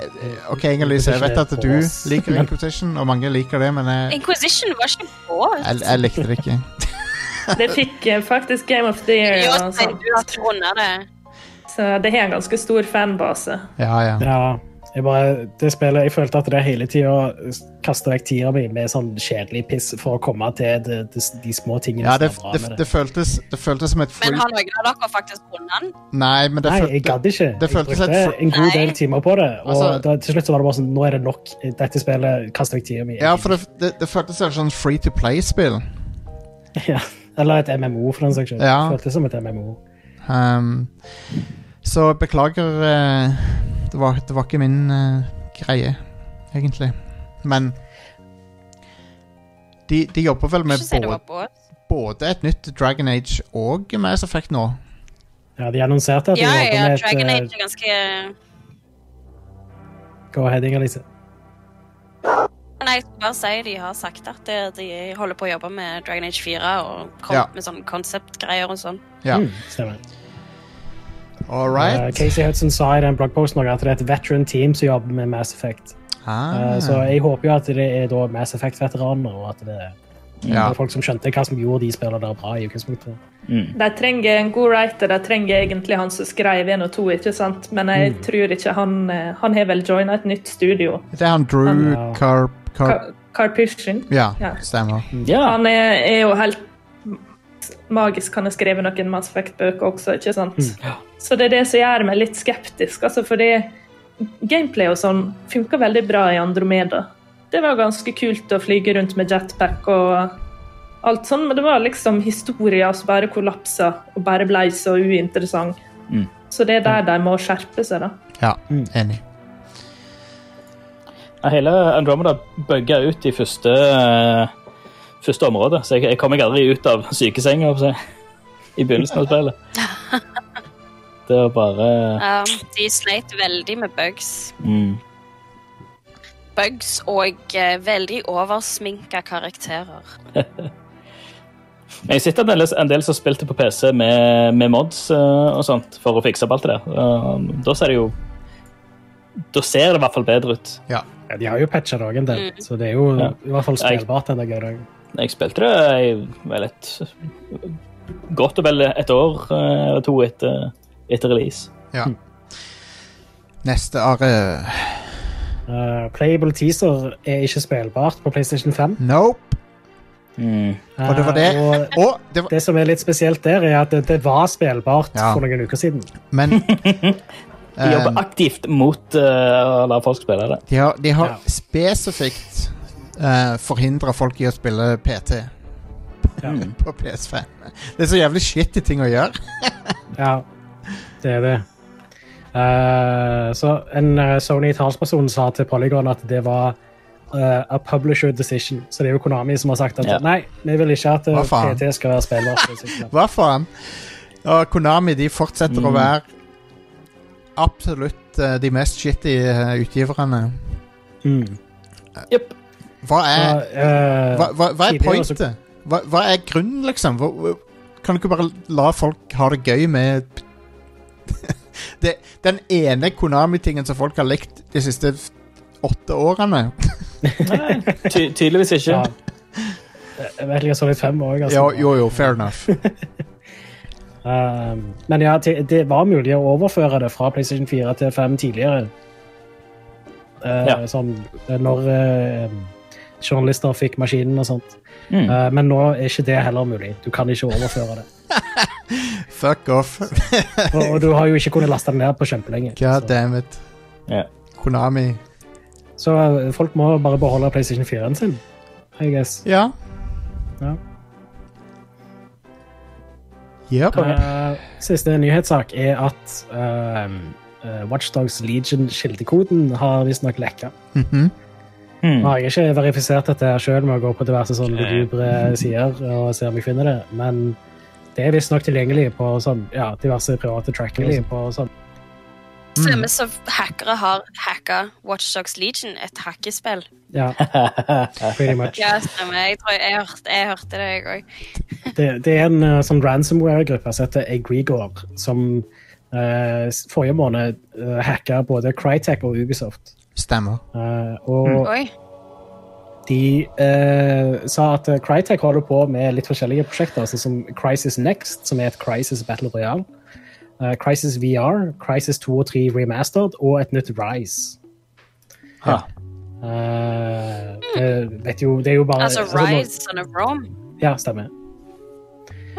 Speaker 1: OK, Inger-Lise, jeg vet at du liker
Speaker 2: Men-
Speaker 1: Inquisition, og mange liker det, men jeg,
Speaker 6: Inquisition var ikke båt.
Speaker 1: jeg, jeg likte det ikke.
Speaker 5: Det fikk eh, faktisk Game of the Year.
Speaker 6: Jo,
Speaker 5: Og
Speaker 6: Stein,
Speaker 5: sånn.
Speaker 6: du har ikke rundet det.
Speaker 5: Så det har en ganske stor fanbase.
Speaker 1: Ja, ja.
Speaker 2: Ja, jeg bare, det spillet, jeg følte at det hele tida kasta vekk tida mi med sånn kjedelig piss for å komme til de, de, de små tingene
Speaker 1: ja det,
Speaker 2: som er bra
Speaker 1: det,
Speaker 2: med
Speaker 1: det, føltes, det føltes som et
Speaker 6: Men
Speaker 1: free
Speaker 6: har noen av dere faktisk rundet den?
Speaker 1: Nei, men det
Speaker 2: Nei, jeg
Speaker 1: føltes
Speaker 2: gadd ikke.
Speaker 1: det
Speaker 2: Jeg
Speaker 1: føltes
Speaker 2: brukte
Speaker 1: helt fr-
Speaker 2: en god del
Speaker 6: Nei.
Speaker 2: timer på det. Og
Speaker 1: Altså-
Speaker 2: da, til slutt så var det bare sånn Nå er det nok. Dette spillet kaster jeg tida mi
Speaker 1: Ja, for det, det, det føltes som et sånn free to play-spill.
Speaker 2: Ja. Eller et MMO, for den saks skyld.
Speaker 1: Ja.
Speaker 2: Det Føltes som et MMO.
Speaker 1: Ehm, så beklager eh, det, var, det var ikke min eh, greie, egentlig. Men de, de jobber vel med
Speaker 6: Ikke si det
Speaker 1: både,
Speaker 6: var båt.
Speaker 1: både et nytt Dragon Age og Mass Effect nå.
Speaker 2: Ja, de annonserte at de
Speaker 6: Ja,
Speaker 2: jobber
Speaker 6: ja,
Speaker 2: med et
Speaker 6: Dragon
Speaker 2: eh,
Speaker 6: Age er ganske
Speaker 2: Go ahead, Inger-Lise.
Speaker 6: Nei, jeg skal bare si de har sagt at eh, de holder på å jobbe med Dragon Age 4 og kom
Speaker 1: Ja.
Speaker 6: med sånne konseptgreier og sånn.
Speaker 1: Ja.
Speaker 2: Mm, stemmer.
Speaker 1: All
Speaker 2: Eh,
Speaker 1: right.
Speaker 2: Casey Hudson sa i den bloggposten også at det er et veteran team som jobber med Mass Effect. Eh, Så
Speaker 1: Ah,
Speaker 2: jeg håper jo at det er da Mass Effect-veteraner, og at det er
Speaker 1: ja.
Speaker 2: folk som skjønte hva som gjorde de spillene der bra i utgangspunktet.
Speaker 5: De trenger en god writer, de trenger egentlig han som skrev 1 og 2, ikke sant? Men jeg tror ikke han eh, Han har vel joina et nytt studio.
Speaker 1: Det er han Drew
Speaker 2: Ja.
Speaker 1: Carp... Carp
Speaker 5: Ka- Karpyshyn.
Speaker 1: ja,
Speaker 5: Ja.
Speaker 1: stemmer.
Speaker 4: Ja.
Speaker 5: Han er, er jo helt magisk. Han har skrevet noen Mass Effect-bøker også, ikke sant? Så det er det som gjør meg litt skeptisk, altså fordi gameplay og sånn funka veldig bra i Andromeda. Det var ganske kult å flyge rundt med jetpack og alt sånn, men det var liksom historier som bare kollapsa og bare blei så uinteressant.
Speaker 4: Mm.
Speaker 5: Så det er der de må skjerpe seg, da.
Speaker 1: Ja,
Speaker 2: Mm.
Speaker 1: enig.
Speaker 4: Ja, Hele Andromeda bugga ut i første, eh, første område, så jeg, jeg kom meg aldri ut av sykesenga holdt jeg på å si, i begynnelsen av spillet. Det var bare
Speaker 6: Ja, Um, de sleit veldig med bugs.
Speaker 4: mm,
Speaker 6: Bugs og eh, veldig oversminka karakterer.
Speaker 4: Men Jeg sitter en del, en del som spilte på PC med, med mods eh, og sånt for å fikse opp alt det der. Eh, da ser det jo Da ser det i hvert fall bedre ut.
Speaker 2: Ja, de har jo patcha det òg en del,
Speaker 6: Mm.
Speaker 2: så det er jo
Speaker 4: Ja.
Speaker 2: i hvert fall spillbart den dag i dag.
Speaker 4: Jeg spilte det i vel et Godt og vel et år eh, eller to etter, etter release.
Speaker 1: Ja.
Speaker 2: Mm.
Speaker 1: Neste are
Speaker 2: Eh, playable teaser er ikke spillbart på PlayStation 5.
Speaker 1: Nope.
Speaker 4: Mm.
Speaker 2: Eh,
Speaker 1: Og det var det.
Speaker 2: og
Speaker 1: Å, det var
Speaker 2: det som er litt spesielt der, er at det, det var spillbart
Speaker 1: Ja.
Speaker 2: for noen uker siden.
Speaker 1: Men
Speaker 4: De jobber
Speaker 1: eh,
Speaker 4: aktivt mot eh, å la folk spille det.
Speaker 1: de har, de har
Speaker 2: Ja.
Speaker 1: spesifikt uh, forhindra folk i å spille PT
Speaker 2: Ja.
Speaker 1: på PS5. Det er så jævlig shitty ting å gjøre.
Speaker 2: Ja, det er det. Eh, så en eh, Sony-talsperson sa til Polygon at det var eh, a publisher decision. Så det er jo Konami som har sagt at
Speaker 4: Ja.
Speaker 2: nei, vi vil ikke at eh,
Speaker 1: Hva faen?
Speaker 2: PT skal være spillbart. på PlayStation 5.
Speaker 1: Hva faen? Og Konami de fortsetter å
Speaker 2: Mm.
Speaker 1: være absolutt eh, de mest shitty eh, utgiverne.
Speaker 4: Jep.
Speaker 1: Hva er
Speaker 2: Så, eh,
Speaker 1: Mm. hva, hva, hva er
Speaker 2: tidligere så-
Speaker 1: pointet? Hva, hva er grunnen, liksom? Hva, hva- kan du ikke bare la folk ha det gøy med det, Den ene Konami-tingen som folk har likt de siste f- åtte årene?
Speaker 4: Nei, ty tydeligvis ikke.
Speaker 2: Ja. Jeg vet ikke, Solid 5 òg. Altså.
Speaker 1: Jo, jo, jo, fair enough.
Speaker 2: Um, men ja, det, det var mulig å overføre det fra PlayStation 4 til 5 tidligere. Eh,
Speaker 4: Ja.
Speaker 2: Sånn eh, når eh, journalister fikk maskinen og sånt.
Speaker 4: Mm.
Speaker 2: Eh, men nå er ikke det heller mulig. Du kan ikke overføre det.
Speaker 1: Fuck off.
Speaker 2: Og, og du har jo ikke kunnet laste den ned på kjempelenge.
Speaker 1: God damn it.
Speaker 4: Ja.
Speaker 1: Konami.
Speaker 2: Så, så eh, folk må bare beholde PlayStation 4-en sin. I guess.
Speaker 1: Ja.
Speaker 2: Ja.
Speaker 1: Yep.
Speaker 2: Eh, siste nyhetssak er at uh, Watchdogs Legion-kildekoden har visstnok lekka.
Speaker 1: Mhm.
Speaker 4: Mm.
Speaker 2: Nå har jeg ikke verifisert dette her sjøl med å gå på diverse sånne
Speaker 4: Nei.
Speaker 2: lugubre sider og se om jeg finner det, men det er visstnok tilgjengelig på sånn, ja, diverse private trackere. på sånn.
Speaker 1: Mm.
Speaker 6: Samme som hackere har hacka Watchdogs Legion, et hackespill.
Speaker 2: Ja, pretty much.
Speaker 6: Ja, stemmer. Jeg tror jeg hørte, jeg hørte det, jeg òg.
Speaker 2: Det, det er en eh, sånn ransomware-gruppe som heter Egregor, som eh, s- forrige måned uh, hacka både Crytek og Ubisoft.
Speaker 1: Stemmer.
Speaker 2: Eh, og
Speaker 6: Oi.
Speaker 2: de eh, sa at eh, Crytek holder på med litt forskjellige prosjekter, sånn som Crisis Next, som er et Crisis Battle Royale, eh, Crisis VR, Crisis 2 og 3 Remastered og et nytt Rise.
Speaker 4: Ha.
Speaker 2: Eh, det, vet jo, det er jo bare
Speaker 6: Altså
Speaker 2: nå-
Speaker 6: Rise Son of Rome.
Speaker 2: Ja, stemmer.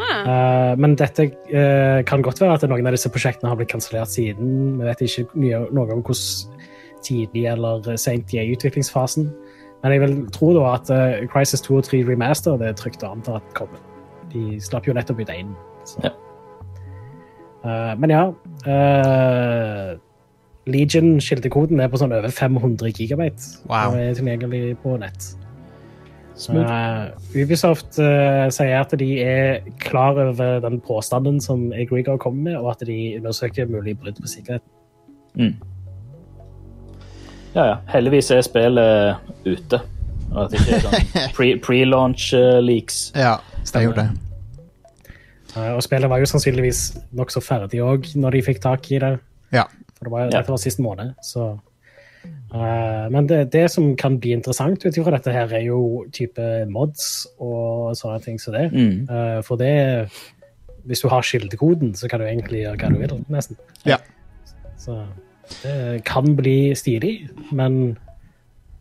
Speaker 6: Ah.
Speaker 2: Eh, men dette eh, kan godt være at noen av disse prosjektene har blitt kansellert siden. Vi vet ikke mye, noe om hvordan tidlig eller eh, sent de er i utviklingsfasen. Men jeg vil tro da at eh, Crisis 2 og 3 Remaster det er trygt å anta at kommer. De slapp jo nettopp ut én. så.
Speaker 4: Ja.
Speaker 2: Eh, men ja eh, Legion-skiltekoden er på sånn over 500 gigabyte
Speaker 1: Wow.
Speaker 2: og er tilgjengelig på nett.
Speaker 4: Smooth.
Speaker 2: Eh, Ubisoft eh, sier at de er klar over den påstanden som Egregor kommer med, og at de undersøker mulig brudd på sikkerhet.
Speaker 4: Mm. Ja, ja. Heldigvis er spillet ute. Og at det ikke er sånn pre- pre-launch eh, leaks.
Speaker 1: Ja, det er jo det.
Speaker 2: Eh, Og spillet var jo sannsynligvis nokså ferdig òg når de fikk tak i det.
Speaker 1: Ja.
Speaker 2: For det var,
Speaker 4: Ja.
Speaker 2: dette var sist måned, så Eh, Men det, det som kan bli interessant ut ifra dette, her er jo type mods og sånne ting som det.
Speaker 4: Mm.
Speaker 2: Eh, for det Hvis du har kildekoden, så kan du egentlig gjøre hva du vil, nesten.
Speaker 1: Ja.
Speaker 2: Så det kan bli stilig, men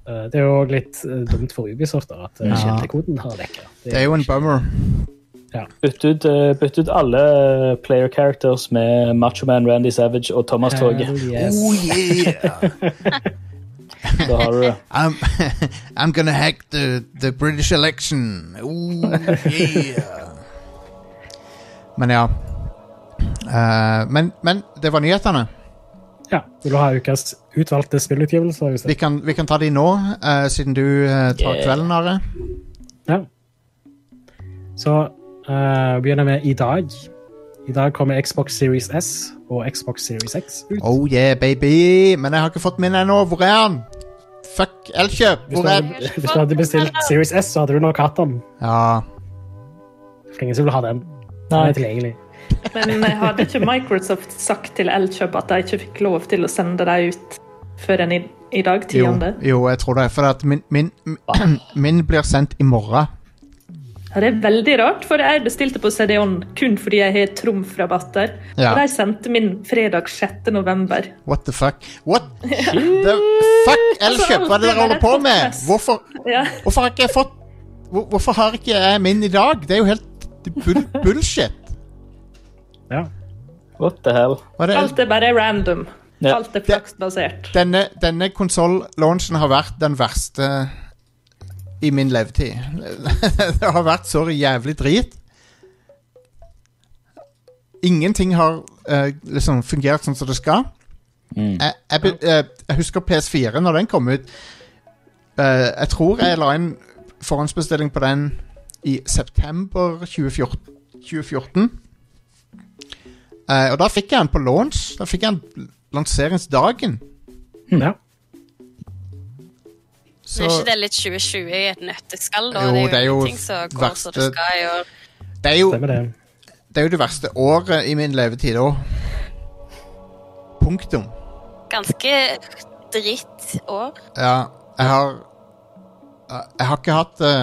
Speaker 2: eh, det er jo også litt eh, dumt for Ubisoft da, at eh,
Speaker 1: Ja.
Speaker 2: kildekoden har lekka.
Speaker 1: Det er jo en bummer.
Speaker 4: Bytt ut, eh, bytt ut alle player characters med Machoman Randy Savage og Thomas Torget.
Speaker 2: Yes.
Speaker 1: Oh, yeah!
Speaker 4: Da har du det.
Speaker 1: I'm, I'm gonna hack the, the British election. Ooh, yeah. men ja. Eh, men, men det var nyhetene.
Speaker 2: Ja, Vil du ha ukas utvalgte spillutgivelser? Hvis
Speaker 1: Vi
Speaker 2: det?
Speaker 1: kan, vi kan ta de nå, eh, siden du eh, tar
Speaker 4: Yeah.
Speaker 1: kvelden, Are.
Speaker 2: Ja. Så eh, begynner vi i dag. I dag kommer Xbox Series S og Xbox Series X ut.
Speaker 1: Oh yeah, baby! Men jeg har ikke fått min ennå. Hvor er han? Fuck Elkjøp!
Speaker 2: Hvis
Speaker 1: Hvor
Speaker 2: du,
Speaker 1: er
Speaker 2: hadde, hvis du hadde bestilt Series S, så hadde du nok hatt den.
Speaker 1: Ja.
Speaker 2: Det er Ingen som vil ha den. Den
Speaker 4: Nei.
Speaker 2: er tilgjengelig.
Speaker 5: Men eh, hadde ikke Microsoft sagt til Elkjøp at de ikke fikk lov til å sende dem ut før enn i, i dag?
Speaker 1: Jo,
Speaker 5: Tiende?
Speaker 1: jo, jeg tror det. For at min, min, min blir sendt i morgen.
Speaker 5: Ja, det er veldig rart, for jeg bestilte på CD-ON kun fordi jeg har trumfrabatter.
Speaker 1: Ja.
Speaker 5: Og de sendte min fredag 6. november.
Speaker 1: What the fuck? What the fuck, Elkjøp? Hva er det dere holder på med? Hvorfor,
Speaker 5: Ja.
Speaker 1: hvorfor har ikke jeg fått hvor- Hvorfor har ikke jeg min i dag? Det er jo helt bull bullshit.
Speaker 2: Ja.
Speaker 4: What the hell?
Speaker 1: Hva er det?
Speaker 5: Alt er bare random.
Speaker 4: Ja.
Speaker 5: Alt er flaksbasert.
Speaker 1: Denne, denne konsoll-launchen har vært den verste i min levetid. Det har vært så jævlig drit. Ingenting har eh, liksom fungert sånn som det skal.
Speaker 4: Mm.
Speaker 1: jeg, jeg, be- eh, jeg husker PS4 når den kom ut. Eh, jeg tror jeg la inn forhåndsbestilling på den i september 2014. 2014. Eh, og da fikk jeg den på launch. Da fikk jeg den lanseringsdagen.
Speaker 2: ja.
Speaker 1: Så
Speaker 6: Er ikke det litt 2020 i et nøtteskall, da?
Speaker 1: Jo,
Speaker 6: det
Speaker 1: det
Speaker 6: er jo
Speaker 1: er jo
Speaker 6: ting som går som det
Speaker 1: verste-
Speaker 6: skal i år.
Speaker 1: det er, jo,
Speaker 2: Stemmer det.
Speaker 1: det er jo det verste året i min levetid òg. Punktum.
Speaker 6: Ganske dritt år.
Speaker 1: Ja, jeg har eh, Jeg har ikke hatt det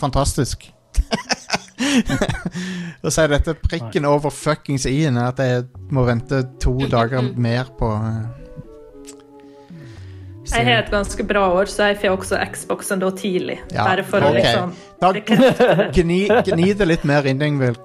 Speaker 1: fantastisk. Og så er dette prikken over fuckings i-en, at jeg må vente to dager mer på eh,
Speaker 5: Jeg har et ganske bra år, så jeg får også Xboxen da tidlig.
Speaker 1: Ja,
Speaker 5: Bare for
Speaker 1: ok.
Speaker 5: å liksom
Speaker 1: Da
Speaker 5: bekrefte
Speaker 1: gni, gni det litt mer inn, Ingvild.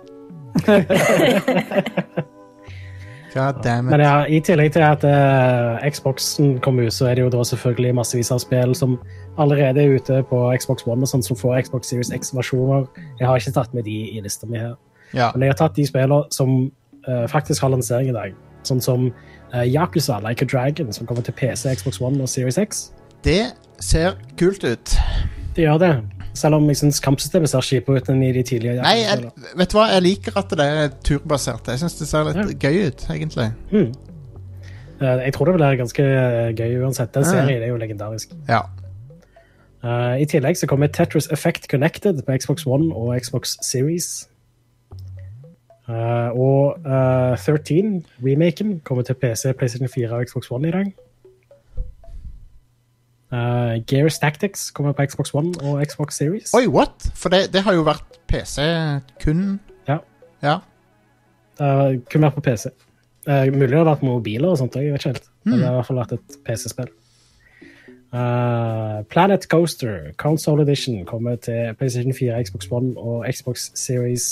Speaker 1: God damn
Speaker 2: Men
Speaker 1: it.
Speaker 2: ja, i tillegg til at eh, Xboxen kom ut, så er det jo da selvfølgelig massevis av spill som allerede er ute på Xbox One, og sånn som får Xbox Series X-versjoner. Jeg har ikke tatt med de i lista mi her.
Speaker 1: Ja.
Speaker 2: Men jeg har tatt de spillene som eh, faktisk har lansering i dag. Sånn som eh, Yakuza Like a Dragon, som kommer til PC, Xbox One og Series X.
Speaker 1: Det ser kult ut.
Speaker 2: Det gjør det. Selv om jeg syns kampsystemet ser kjipere ut enn i de tidligere.
Speaker 1: Nei, jeg,
Speaker 2: Yakuza-spillene.
Speaker 1: vet du hva? Jeg liker at det er turbasert. Jeg syns det ser litt gøy ut, egentlig.
Speaker 2: Mm. Eh, Jeg tror det vil være ganske eh, gøy uansett. Den
Speaker 1: Ja.
Speaker 2: serien er jo legendarisk.
Speaker 1: Ja.
Speaker 2: Eh, I tillegg så kommer Tetris Effect Connected på Xbox One og Xbox Series. Eh, og eh, 13, remaken, kommer til PC, PlayStation 4 og Xbox One i dag. Eh, Gears Tactics kommer på Xbox One og Xbox Series.
Speaker 1: Oi, what? For det, det har jo vært PC kun
Speaker 2: Ja.
Speaker 1: Ja.
Speaker 2: Eh, kun vært på PC. Eh, mulig det har vært mobiler og sånt òg, jeg vet ikke helt. Men det har i hvert fall vært et PC-spill. Eh, Planet Coaster Console Edition kommer til PlayStation 4, Xbox One og Xbox Series.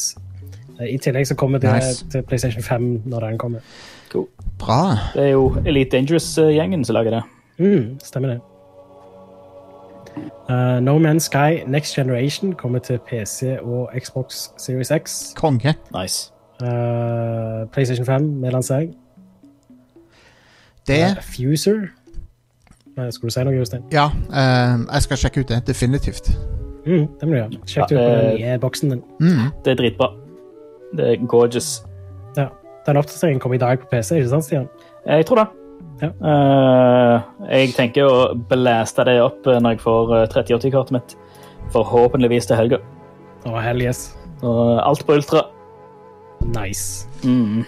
Speaker 2: Eh, I tillegg så kommer det
Speaker 1: Nice.
Speaker 2: til PlayStation 5 når den kommer.
Speaker 1: Bra.
Speaker 4: Det er jo Elite Dangerous-gjengen som lager det.
Speaker 2: Mm, stemmer det. Eh, no Man's Sky Next Generation kommer til PC og Xbox Series X.
Speaker 1: Konge.
Speaker 4: Nice.
Speaker 2: Eh, PlayStation 5 med lansering.
Speaker 1: Det
Speaker 2: Eh, Fuser. Eh, Skulle du si noe, Jostein?
Speaker 1: Ja, eh, jeg skal sjekke ut det. Definitivt.
Speaker 2: Mm, det må du gjøre. Sjekk
Speaker 4: Ja,
Speaker 2: ut på den
Speaker 4: eh,
Speaker 2: nye boksen din.
Speaker 1: Mm.
Speaker 4: Det er dritbra. Det er gorgeous.
Speaker 2: Ja. Den oppdateringen kom i dag på PC, ikke sant, Stian?
Speaker 4: Eh, Jeg tror det.
Speaker 2: Ja.
Speaker 4: Eh, jeg tenker å blaste det opp eh, når jeg får eh, 3080-kortet mitt. Forhåpentligvis til helga.
Speaker 2: Og hell yes.
Speaker 4: Og eh, alt på ultra.
Speaker 2: Nice.
Speaker 4: Mm.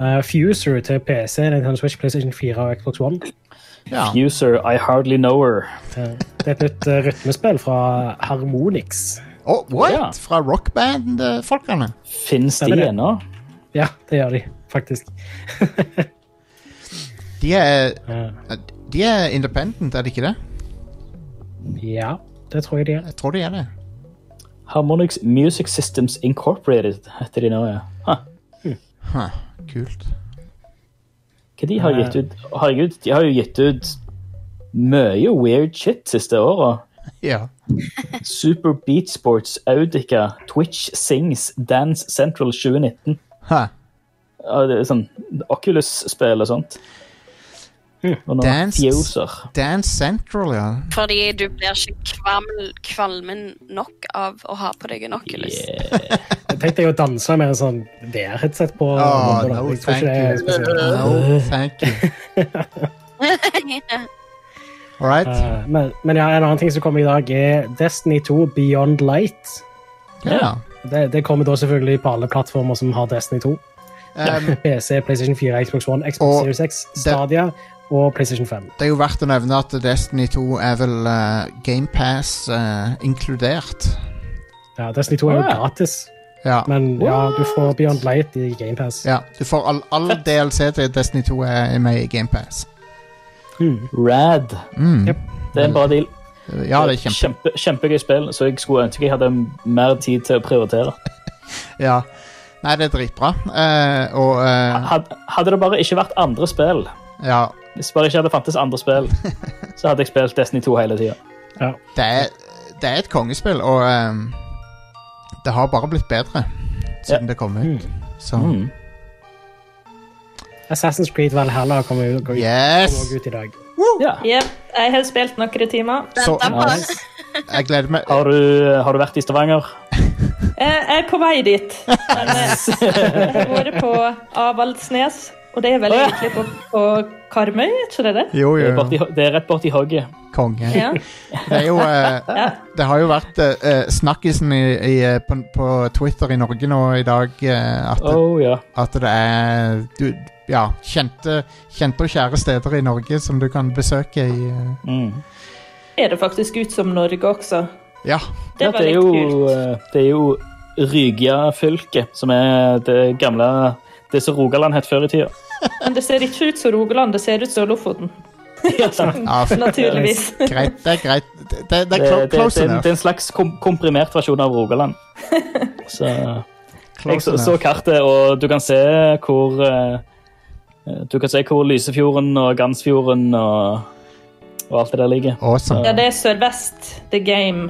Speaker 2: Eh, Fuser til PC, Nintendo Switch, PlayStation 4 og Xbox One.
Speaker 1: Ja.
Speaker 4: User, I hardly know her.
Speaker 2: Eh, det er et nytt eh, rytmespill fra Harmonix.
Speaker 1: Oh, what?
Speaker 4: Ja.
Speaker 1: Fra eh, rockband-folkene?
Speaker 4: Fins de
Speaker 2: Stemmer det.
Speaker 4: ennå?
Speaker 2: Ja, det gjør de, faktisk.
Speaker 1: De er,
Speaker 2: Eh,
Speaker 1: de er independent, er de ikke det?
Speaker 2: ja, det tror jeg de er.
Speaker 1: Jeg tror de er det.
Speaker 4: Harmonix Music Systems Incorporated heter de nå, ja. Ha,
Speaker 1: Huh. Kult.
Speaker 4: hva de har gitt ut? Herregud, de har jo gitt ut mye weird shit siste åra.
Speaker 1: Ja.
Speaker 4: Super Beat Sports, Audica, Twitch Sings, Dance Central 2019.
Speaker 1: Huh.
Speaker 4: Ja, det er sånn Oculus-spill og sånt. Og nå
Speaker 1: Dance-
Speaker 4: Fuser.
Speaker 1: Dance Central, ja.
Speaker 6: Fordi du blir ikke kvalm, kvalmen nok av å ha på deg en Oculus.
Speaker 2: Jeg tenkte jeg å danse med en sånn VR-headset på.
Speaker 1: Oh,
Speaker 2: på da.
Speaker 1: no,
Speaker 2: Jeg tror
Speaker 1: thank
Speaker 2: ikke det er
Speaker 1: you.
Speaker 2: spesielt.
Speaker 1: No, thank you. All right.
Speaker 2: Eh, men, men ja, en annen ting som kommer i dag, er Destiny 2 Beyond Light.
Speaker 1: Ja.
Speaker 2: Det, det kommer da selvfølgelig på alle plattformer som har Destiny 2.
Speaker 1: Um,
Speaker 2: PC, PlayStation 4, Xbox One, Xbox
Speaker 1: Og
Speaker 2: Series X, Stadia og PlayStation 5.
Speaker 1: det er jo verdt å nevne at Destiny 2 er vel uh, GamePass uh, inkludert.
Speaker 2: Ja, Destiny 2 er jo
Speaker 4: Ah.
Speaker 2: gratis,
Speaker 1: Ja.
Speaker 2: men ja, du får Beyond Light i GamePass.
Speaker 1: ja. Du får all, all DLC til Destiny 2 er med i GamePass.
Speaker 2: Mm.
Speaker 4: Rad.
Speaker 1: Mm.
Speaker 2: Yep.
Speaker 4: Det er en bra deal.
Speaker 1: Ja, det er kjempe...
Speaker 4: Kjempe, kjempegøy spill, så jeg skulle ønske jeg hadde mer tid til å prioritere.
Speaker 1: Ja. Nei, det er dritbra. Eh, og eh,
Speaker 4: Had, hadde det bare ikke vært andre spill,
Speaker 1: ja,
Speaker 4: hvis bare ikke hadde fantes andre spill, så hadde jeg spilt Destiny 2 hele tida.
Speaker 1: det er, det er et kongespill, og eh, det har bare blitt bedre siden det kom ut. Så
Speaker 4: Mm.
Speaker 2: Assassin's Creed Valhalla kommer ut, går ut,
Speaker 1: yes!
Speaker 2: kommer også ut i dag.
Speaker 4: Ja.
Speaker 5: Jep, jeg har spilt noen timer.
Speaker 1: Så
Speaker 6: Vent da,
Speaker 4: Nice.
Speaker 1: jeg gleder meg.
Speaker 4: Har du, har du vært i Stavanger?
Speaker 5: Eh, Jeg er på vei dit. Men eh, jeg har vært på Avaldsnes, og det er vel
Speaker 4: Å, ja.
Speaker 5: egentlig på, på Karmøy, er ikke det det?
Speaker 1: Jo,
Speaker 4: Det er,
Speaker 1: jo.
Speaker 4: borti, det er rett borti hogget.
Speaker 1: Konge.
Speaker 5: Ja.
Speaker 1: Det er jo eh,
Speaker 5: Ja.
Speaker 1: Det har jo vært eh, eh, snakkisen i, i, eh, på, på Twitter i Norge nå i dag eh, at,
Speaker 4: Oh, ja.
Speaker 1: at det er du, ja, kjente, kjente og kjære steder i Norge som du kan besøke i eh,
Speaker 4: Mm.
Speaker 5: Er det faktisk ut som Norge også?
Speaker 1: Ja.
Speaker 5: Det
Speaker 4: Ja,
Speaker 5: var litt
Speaker 4: er jo,
Speaker 5: kult.
Speaker 4: eh, Det er jo Rygja fylke, som er det gamle Det som Rogaland het før i tida.
Speaker 5: Men det ser ikke ut som Rogaland, det ser ut som Lofoten.
Speaker 4: Ja, sant.
Speaker 1: ja f-
Speaker 5: Naturligvis.
Speaker 1: greit, det er greit. Det, det, det
Speaker 4: Det,
Speaker 1: er clo
Speaker 4: det, det,
Speaker 1: close
Speaker 4: er en- det
Speaker 1: enough.
Speaker 4: er en slags kom komprimert versjon av Rogaland. Så jeg
Speaker 1: Close
Speaker 4: så, så
Speaker 1: enough.
Speaker 4: kartet, og du kan se hvor eh, Du kan se hvor Lysefjorden og Gansfjorden og, og alt det der ligger.
Speaker 1: Awesome.
Speaker 5: Ja, det er Sørvest The Game.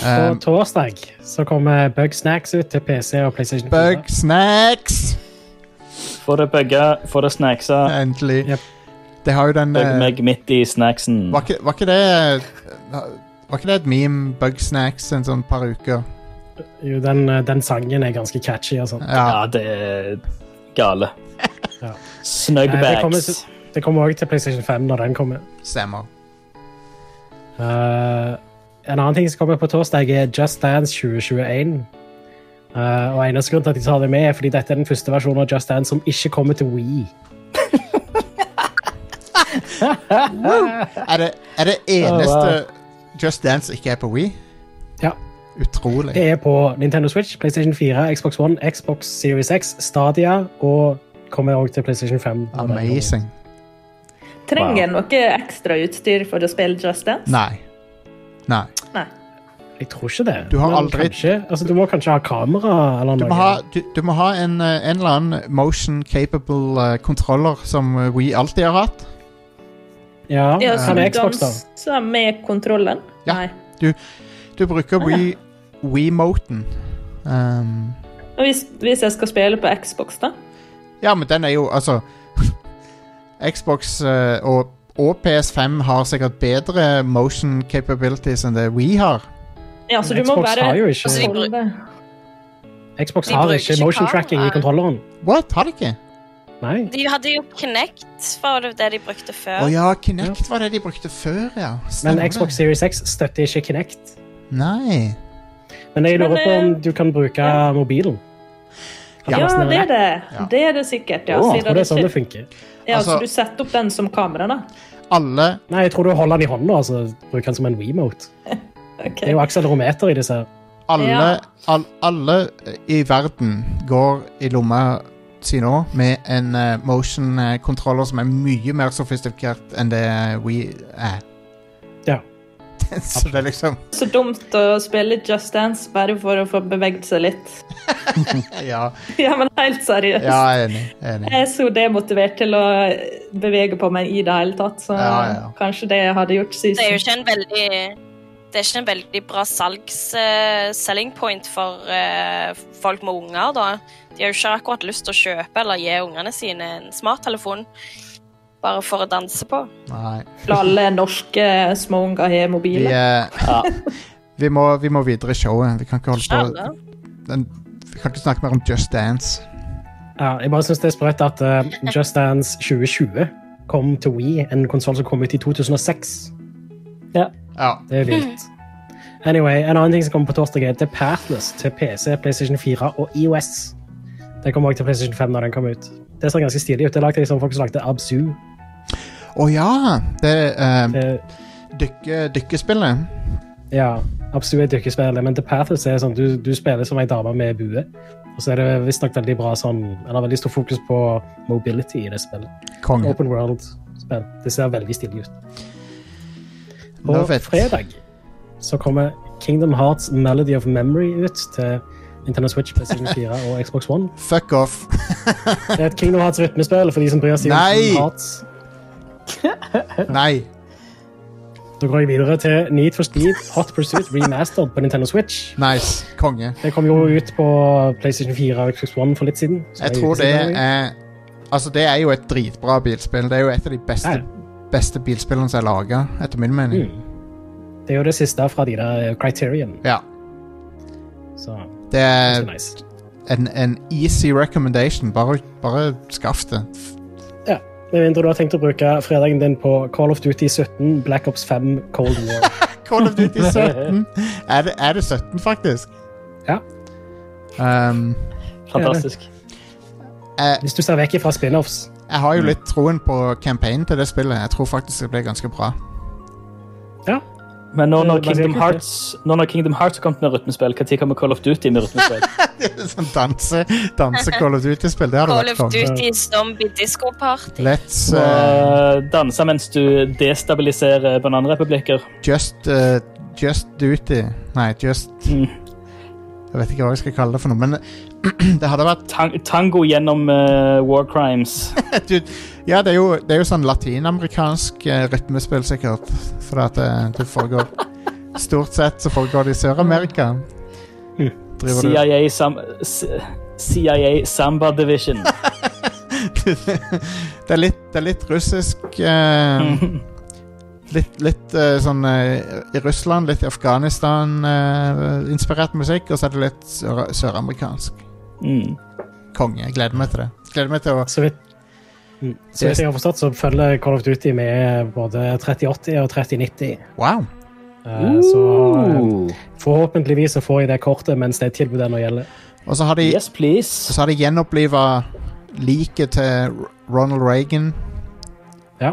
Speaker 1: Um,
Speaker 2: På torsdag så kommer Bug Snacks ut til PC og PlayStation 4.
Speaker 1: Bug snacks!
Speaker 4: Få det bugga, få det snacksa.
Speaker 1: Endelig.
Speaker 2: Yep.
Speaker 1: Det har jo den
Speaker 4: Bugg
Speaker 1: eh,
Speaker 4: meg midt i snacksen.
Speaker 1: var, ikke, var ikke det eh, Var ikke det et meme, Bug snacks, en sånn par uker?
Speaker 2: Jo, den, eh, den sangen er ganske catchy og sånn.
Speaker 1: Ja.
Speaker 4: Ja, det er gale.
Speaker 2: Ja. Eh, det kommer
Speaker 4: Snugbags.
Speaker 2: s- Det kommer òg til PlayStation 5 når den kommer.
Speaker 1: Stemmer.
Speaker 2: Eh, en annen ting som kommer på torsdag, er Just Dance 2021. Eh, og Eneste grunn til at jeg tar det med, er fordi dette er den første versjonen av Just Dance som ikke kommer til Wii.
Speaker 1: Er det, er det eneste Just Dance ikke er på Wii?
Speaker 2: Ja.
Speaker 1: Utrolig.
Speaker 2: Det er på Nintendo Switch, PlayStation 4, Xbox One, Xbox Series X, Stadia og kommer òg til PlayStation 5. når den kommer.
Speaker 1: Amazing.
Speaker 5: Trenger en noe ekstra utstyr for å spille Just Dance?
Speaker 1: Nei. Nei.
Speaker 5: Nei.
Speaker 2: Jeg tror ikke det.
Speaker 1: Du har
Speaker 2: Men
Speaker 1: aldri-
Speaker 2: kanskje, altså, Du må kanskje ha kamera eller
Speaker 1: Du
Speaker 2: noe.
Speaker 1: må ha, du, du må ha en, eh, en eller annen motion capable eh, kontroller som eh, We alltid har hatt.
Speaker 2: Ja,
Speaker 5: Ja, så
Speaker 2: han
Speaker 5: du
Speaker 2: er Xbox, da.
Speaker 5: danser med kontrollen?
Speaker 1: Ja.
Speaker 5: Nei.
Speaker 1: Du bruker
Speaker 2: Ah,
Speaker 1: We, We-moten. Um,
Speaker 5: Og hvis, hvis jeg skal spille på Xbox, da?
Speaker 1: ja, men den er jo Altså Xbox eh, og, og PS5 har sikkert bedre motion capabilities enn det We har.
Speaker 5: Ja, så du
Speaker 2: Men
Speaker 5: må
Speaker 2: Xbox
Speaker 5: bare
Speaker 2: har jo ikke-
Speaker 5: holde-
Speaker 2: Xbox
Speaker 6: De
Speaker 2: har
Speaker 6: bruker
Speaker 2: ikke
Speaker 6: ikke
Speaker 2: motion
Speaker 6: kamera.
Speaker 2: tracking i kontrolleren.
Speaker 1: What? Har de ikke?
Speaker 2: Nei.
Speaker 6: De hadde jo Kinect, var det det de brukte
Speaker 1: Å
Speaker 6: før.
Speaker 1: ja, Kinect var det de brukte før, ja.
Speaker 2: Men
Speaker 1: Stemmer.
Speaker 2: Xbox Series X støtter ikke Kinect.
Speaker 1: Nei.
Speaker 2: Men jeg lurer
Speaker 5: Men,
Speaker 2: på om
Speaker 5: eh,
Speaker 2: du kan bruke mobilen. Kan
Speaker 5: Ja,
Speaker 2: laste ned
Speaker 5: det
Speaker 2: en
Speaker 5: er
Speaker 2: app?
Speaker 5: det.
Speaker 1: Ja.
Speaker 5: Det er det sikkert, ja.
Speaker 4: Å,
Speaker 2: Jeg
Speaker 5: siden
Speaker 2: tror det er sånn
Speaker 5: det
Speaker 2: det funker.
Speaker 5: ikke- ja
Speaker 1: Altså-
Speaker 5: så du setter opp den som kamera, da?
Speaker 1: Alle
Speaker 2: Nei, jeg tror du holder den i hånda og altså, bruker den som en Wiimote.
Speaker 5: Ok.
Speaker 2: Det er jo akselerometer i disse. her.
Speaker 1: alle,
Speaker 5: Ja.
Speaker 1: all, alle eh, i verden går i lomma si nå med en eh, motion eh, controller som er mye mer sofistikert enn det we er.
Speaker 2: Ja.
Speaker 1: Så det er liksom
Speaker 5: Så dumt å spille Just Dance bare for å få beveget seg litt.
Speaker 1: Ja,
Speaker 5: Ja, men helt seriøst.
Speaker 1: ja jeg er enig. jeg er enig.
Speaker 5: Jeg er så demotivert til å bevege på meg i det hele tatt, så
Speaker 1: Ja, ja.
Speaker 5: kanskje det hadde gjort
Speaker 6: Det er
Speaker 5: Susan.
Speaker 6: jo ikke en veldig det er ikke en veldig bra salgs eh, selling point for eh, folk med unger, da. De har jo ikke akkurat lyst til å kjøpe eller gi ungene sine en smarttelefon bare for å danse på.
Speaker 1: Nei.
Speaker 5: Alle norske småunger
Speaker 1: Vi,
Speaker 5: har mobiler.
Speaker 1: eh,
Speaker 4: Ja.
Speaker 1: vi, må, vi må videre i showet. Vi kan ikke holde på
Speaker 6: Alle.
Speaker 1: den, Vi kan ikke snakke mer om Just Dance.
Speaker 2: Ja, jeg bare syns det er sprøtt at eh, Just Dance 2020 kom til Wii, en konsoll som kom ut i 2006.
Speaker 1: Ja.
Speaker 2: Det
Speaker 5: Hmm.
Speaker 2: er vilt. Anyway, En annen ting som kommer på torsdag, er The Pathless til PC, PlayStation 4 og E EOS. Den kommer også til PlayStation 5 når den kommer ut. Det ser ganske stilig ut. Det er lagt liksom folk som lagde Abzu.
Speaker 1: Å ja! Det er
Speaker 2: Eh,
Speaker 1: dykke, dykkespillet.
Speaker 2: ja, Abzu er dykkespillet, men The Pathless er sånn du, du spiller som ei dame med bue. Og så er det visstnok veldig bra sånn En har veldig stor fokus på mobility i det spillet.
Speaker 1: Konge.
Speaker 2: Open World-spill. Det ser veldig stilig ut. På
Speaker 1: Love it.
Speaker 2: fredag så kommer Kingdom Hearts Melody of Memory ut til Nintendo Switch, PlayStation 4 og Xbox One.
Speaker 1: Fuck off.
Speaker 2: Det er et Kingdom Hearts rytmespill for de som bryr seg om
Speaker 1: Nei!
Speaker 2: Kingdom Hearts.
Speaker 1: Nei.
Speaker 2: Da går jeg videre til Need for Speed Hot Pursuit Remastered på Nintendo Switch.
Speaker 1: Nice. Konge.
Speaker 2: Det kom jo ut på PlayStation 4 og Xbox One for litt siden. så
Speaker 1: Jeg
Speaker 2: er
Speaker 1: tror
Speaker 2: ute
Speaker 1: det
Speaker 2: siden av
Speaker 1: er Altså, det er jo et dritbra bilspill. Det er jo et av de beste,
Speaker 2: Ja, Mm.
Speaker 1: beste bilspillene som er laga, etter min mening.
Speaker 2: Det er jo det siste fra de der eh, Criterion,
Speaker 1: Ja.
Speaker 2: så
Speaker 1: Det
Speaker 2: det er
Speaker 1: er
Speaker 2: nice.
Speaker 1: en, en easy recommendation. Bare, bare skaff det.
Speaker 2: Ja. Med mindre du har tenkt å bruke fredagen din på Call of Duty 17, Black Ops 5, Cold War.
Speaker 1: Call of Duty 17. Er det, er det 17, faktisk?
Speaker 2: Ja.
Speaker 1: Um,
Speaker 4: Fantastisk.
Speaker 1: jeg,
Speaker 2: Hvis du ser vekk fra spin-offs.
Speaker 1: jeg har jo litt troen på campaignen til det spillet. Jeg tror faktisk det blir ganske bra.
Speaker 2: Ja.
Speaker 4: Men nå når
Speaker 2: Det er bare
Speaker 4: Kingdom
Speaker 2: helt
Speaker 4: Hearts nå når Kingdom Hearts har kommet med rytmespill, når kommer Call of Duty med rytmespill?
Speaker 1: sånn danse, danse Call of Duty-spill. Det hadde
Speaker 6: Call
Speaker 1: vært
Speaker 6: of
Speaker 1: konge.
Speaker 6: Duty Zombie Disco Party.
Speaker 1: Let's uh,
Speaker 4: Uh, danse mens du destabiliserer bananrepublikker.
Speaker 1: just uh, Just Duty. Nei, just
Speaker 4: Mm.
Speaker 1: Jeg vet ikke hva jeg skal kalle det for noe, men det hadde vært
Speaker 4: Tang tango gjennom eh, war crimes.
Speaker 1: du, Ja, det er jo, det er jo sånn latinamerikansk eh, rytmespill, sikkert. For at det, det foregår Stort sett så foregår det i Sør-Amerika. Driver du
Speaker 4: CIA, sam S- CIA Samba Division.
Speaker 1: Det er litt, det er litt russisk eh,
Speaker 4: Mm.
Speaker 1: Litt, litt eh, sånn eh, i Russland, litt i Afghanistan-inspirert musikk, og så er det litt sør- søramerikansk.
Speaker 4: Mm.
Speaker 1: Konge. Jeg gleder meg til det. Gleder meg til å
Speaker 2: Så vidt, mm. så vidt jeg har forstått, så følger Call of Duty med både 3080 og 3090.
Speaker 1: Wow!
Speaker 2: Eh, Så eh, forhåpentligvis så får jeg det kortet mens det tilbudet nå gjelder.
Speaker 1: Og så har de,
Speaker 4: Yes, please.
Speaker 1: så har de gjenoppliva liket til Ronald Reagan.
Speaker 2: Ja.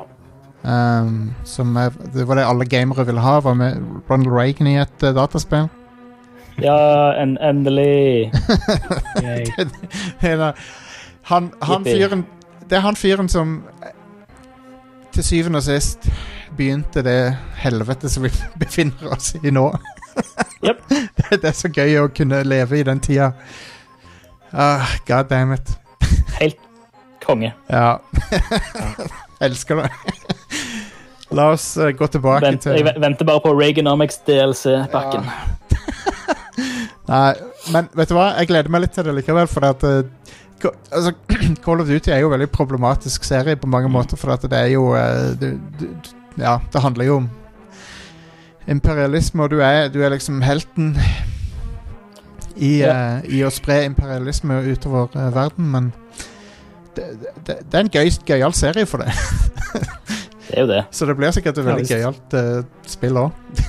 Speaker 1: Um, som er, det var det alle gamere ville ha, var med Ronald Reagan i et eh, dataspill.
Speaker 4: Ja, en endelig.
Speaker 2: Jeg,
Speaker 1: Hele- han, han
Speaker 4: Yippee.
Speaker 1: fyren Det er han fyren som eh, til syvende og sist begynte det helvetet som vi befinner oss i nå.
Speaker 4: Jep.
Speaker 1: det, det er så gøy å kunne leve i den tida. Ah, God damn it.
Speaker 4: Helt konge.
Speaker 1: Ja. Elsker det. La oss eh, gå tilbake
Speaker 4: Vent,
Speaker 1: til
Speaker 4: jeg ve- venter bare på Reaganomics-DLC-pakken.
Speaker 1: Nei, men vet du hva? Jeg gleder meg litt til det likevel, for at eh, Ca- altså, Call of Duty er jo en veldig problematisk serie på
Speaker 4: Mm.
Speaker 1: mange måter, for at det er jo eh, du, du, du, Ja, det handler jo om imperialisme, og du er, du er liksom helten i, eh, i å spre imperialisme utover eh, verden, men det, det, det er en gøy, gøyal serie for det.
Speaker 4: Det er jo det.
Speaker 1: Så det blir sikkert et
Speaker 2: Ja,
Speaker 1: veldig
Speaker 2: visst.
Speaker 1: gøyalt eh, spill òg.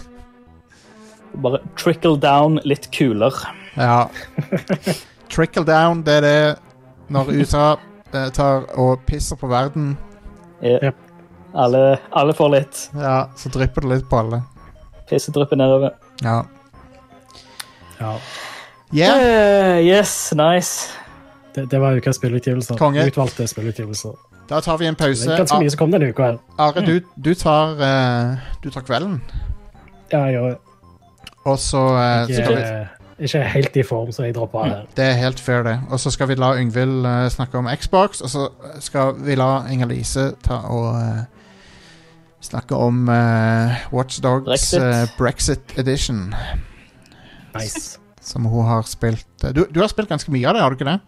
Speaker 4: Bare trickle down litt kulere.
Speaker 1: Ja. Trickle down, det er det når USA eh, tar og pisser på verden.
Speaker 4: Eh,
Speaker 2: Ja.
Speaker 4: Alle, alle får litt.
Speaker 1: Ja, så drypper det litt på alle.
Speaker 4: Pisset drypper nedover.
Speaker 1: Ja.
Speaker 2: Ja.
Speaker 1: Yeah.
Speaker 4: Eh, yes, nice.
Speaker 2: Det, det var ukas spillutgivelser.
Speaker 1: Konge.
Speaker 2: Utvalgte spillutgivelser.
Speaker 1: Da tar vi en
Speaker 2: Det
Speaker 1: pause.
Speaker 2: er ganske mye som Mm. kom denne uka. her.
Speaker 1: Ar- Are, du, du tar eh, Du tar kvelden,
Speaker 2: Ja, jeg,
Speaker 1: og så, eh,
Speaker 2: jeg,
Speaker 1: så kan vi
Speaker 2: er ikke helt i form, så jeg dropper av her.
Speaker 1: Det er helt fair, det. Og så skal vi la Yngvild eh, snakke om Xbox, og så skal vi la Inger-Lise ta og eh, snakke om uh, Watchdogs
Speaker 4: Brexit.
Speaker 1: eh, Brexit Edition,
Speaker 2: Nice.
Speaker 1: som hun har spilt. eh, Du, du har spilt ganske mye av det, har du ikke det?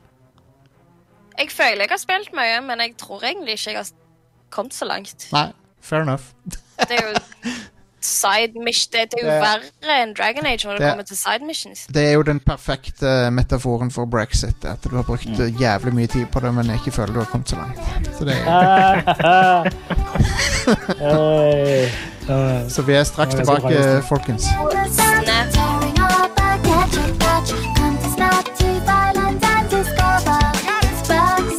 Speaker 6: Jeg føler jeg har spilt mye, men jeg tror egentlig ikke jeg har kommet så langt.
Speaker 1: Nei. Fair enough.
Speaker 6: Det er jo side mission. Det, det er jo
Speaker 1: Det-
Speaker 6: verre enn Dragon Age når det
Speaker 1: Det-
Speaker 6: kommer til side missions.
Speaker 1: Det er jo den perfekte eh, metaforen for brexit. At du har brukt eh, jævlig mye tid på det, men ikke føler du har kommet så langt. Så, det,
Speaker 4: Hey.
Speaker 2: Eh,
Speaker 1: så vi er straks
Speaker 2: Ja, det er så bra,
Speaker 1: tilbake,
Speaker 2: Jostein.
Speaker 1: folkens.
Speaker 7: Bugs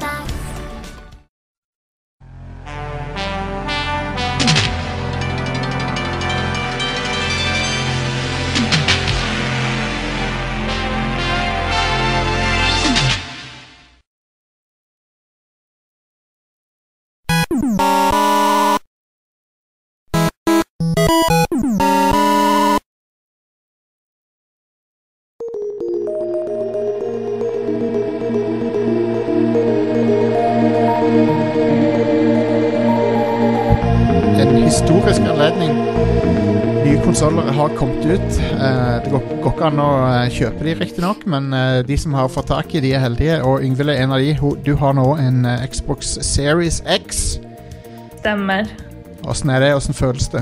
Speaker 7: Snacks.
Speaker 1: en historisk anledning. Nye konsoller har kommet ut. Eh, Det går, går ikke an å eh, kjøpe de riktignok, men eh, de som har fått tak i, de er heldige. Og Yngvild er en av de. Hun- Du har nå en eh, Xbox Series X.
Speaker 5: Stemmer.
Speaker 1: Åssen er det? Åssen føles det?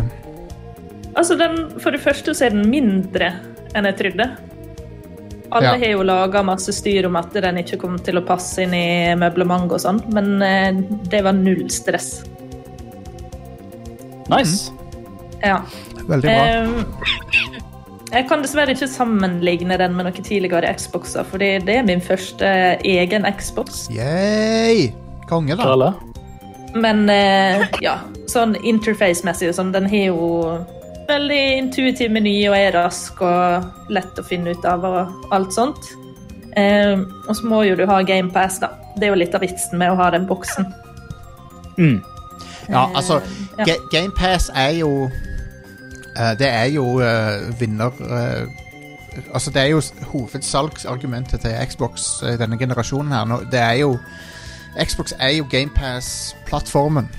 Speaker 5: Altså, den, for det første så er den mindre enn jeg trodde. Alle
Speaker 1: Ja.
Speaker 5: har jo laga masse styr om at den ikke kom til å passe inn i møblement og sånn, men eh, det var null stress.
Speaker 4: Nice.
Speaker 5: Ja.
Speaker 1: Veldig bra.
Speaker 5: Eh, jeg kan dessverre ikke sammenligne den med noen tidligere Xboxer, fordi det er min første egen Xbox.
Speaker 1: Yay! Konge, da.
Speaker 4: Krølle.
Speaker 5: Men eh, ja, sånn interface-messig og sånn, den har jo veldig intuitiv meny og er rask og lett å finne ut av og alt sånt. Eh, og så må jo du ha GamePass, da. Det er jo litt av vitsen med å ha den boksen.
Speaker 4: Mm.
Speaker 1: Ja, altså,
Speaker 5: ja.
Speaker 1: Ga GamePass er jo eh, Det er jo eh, vinner eh, Altså, det er jo s- hovedsalgsargumentet til Xbox i denne generasjonen her. Nå, det er jo Xbox er jo GamePass-plattformen.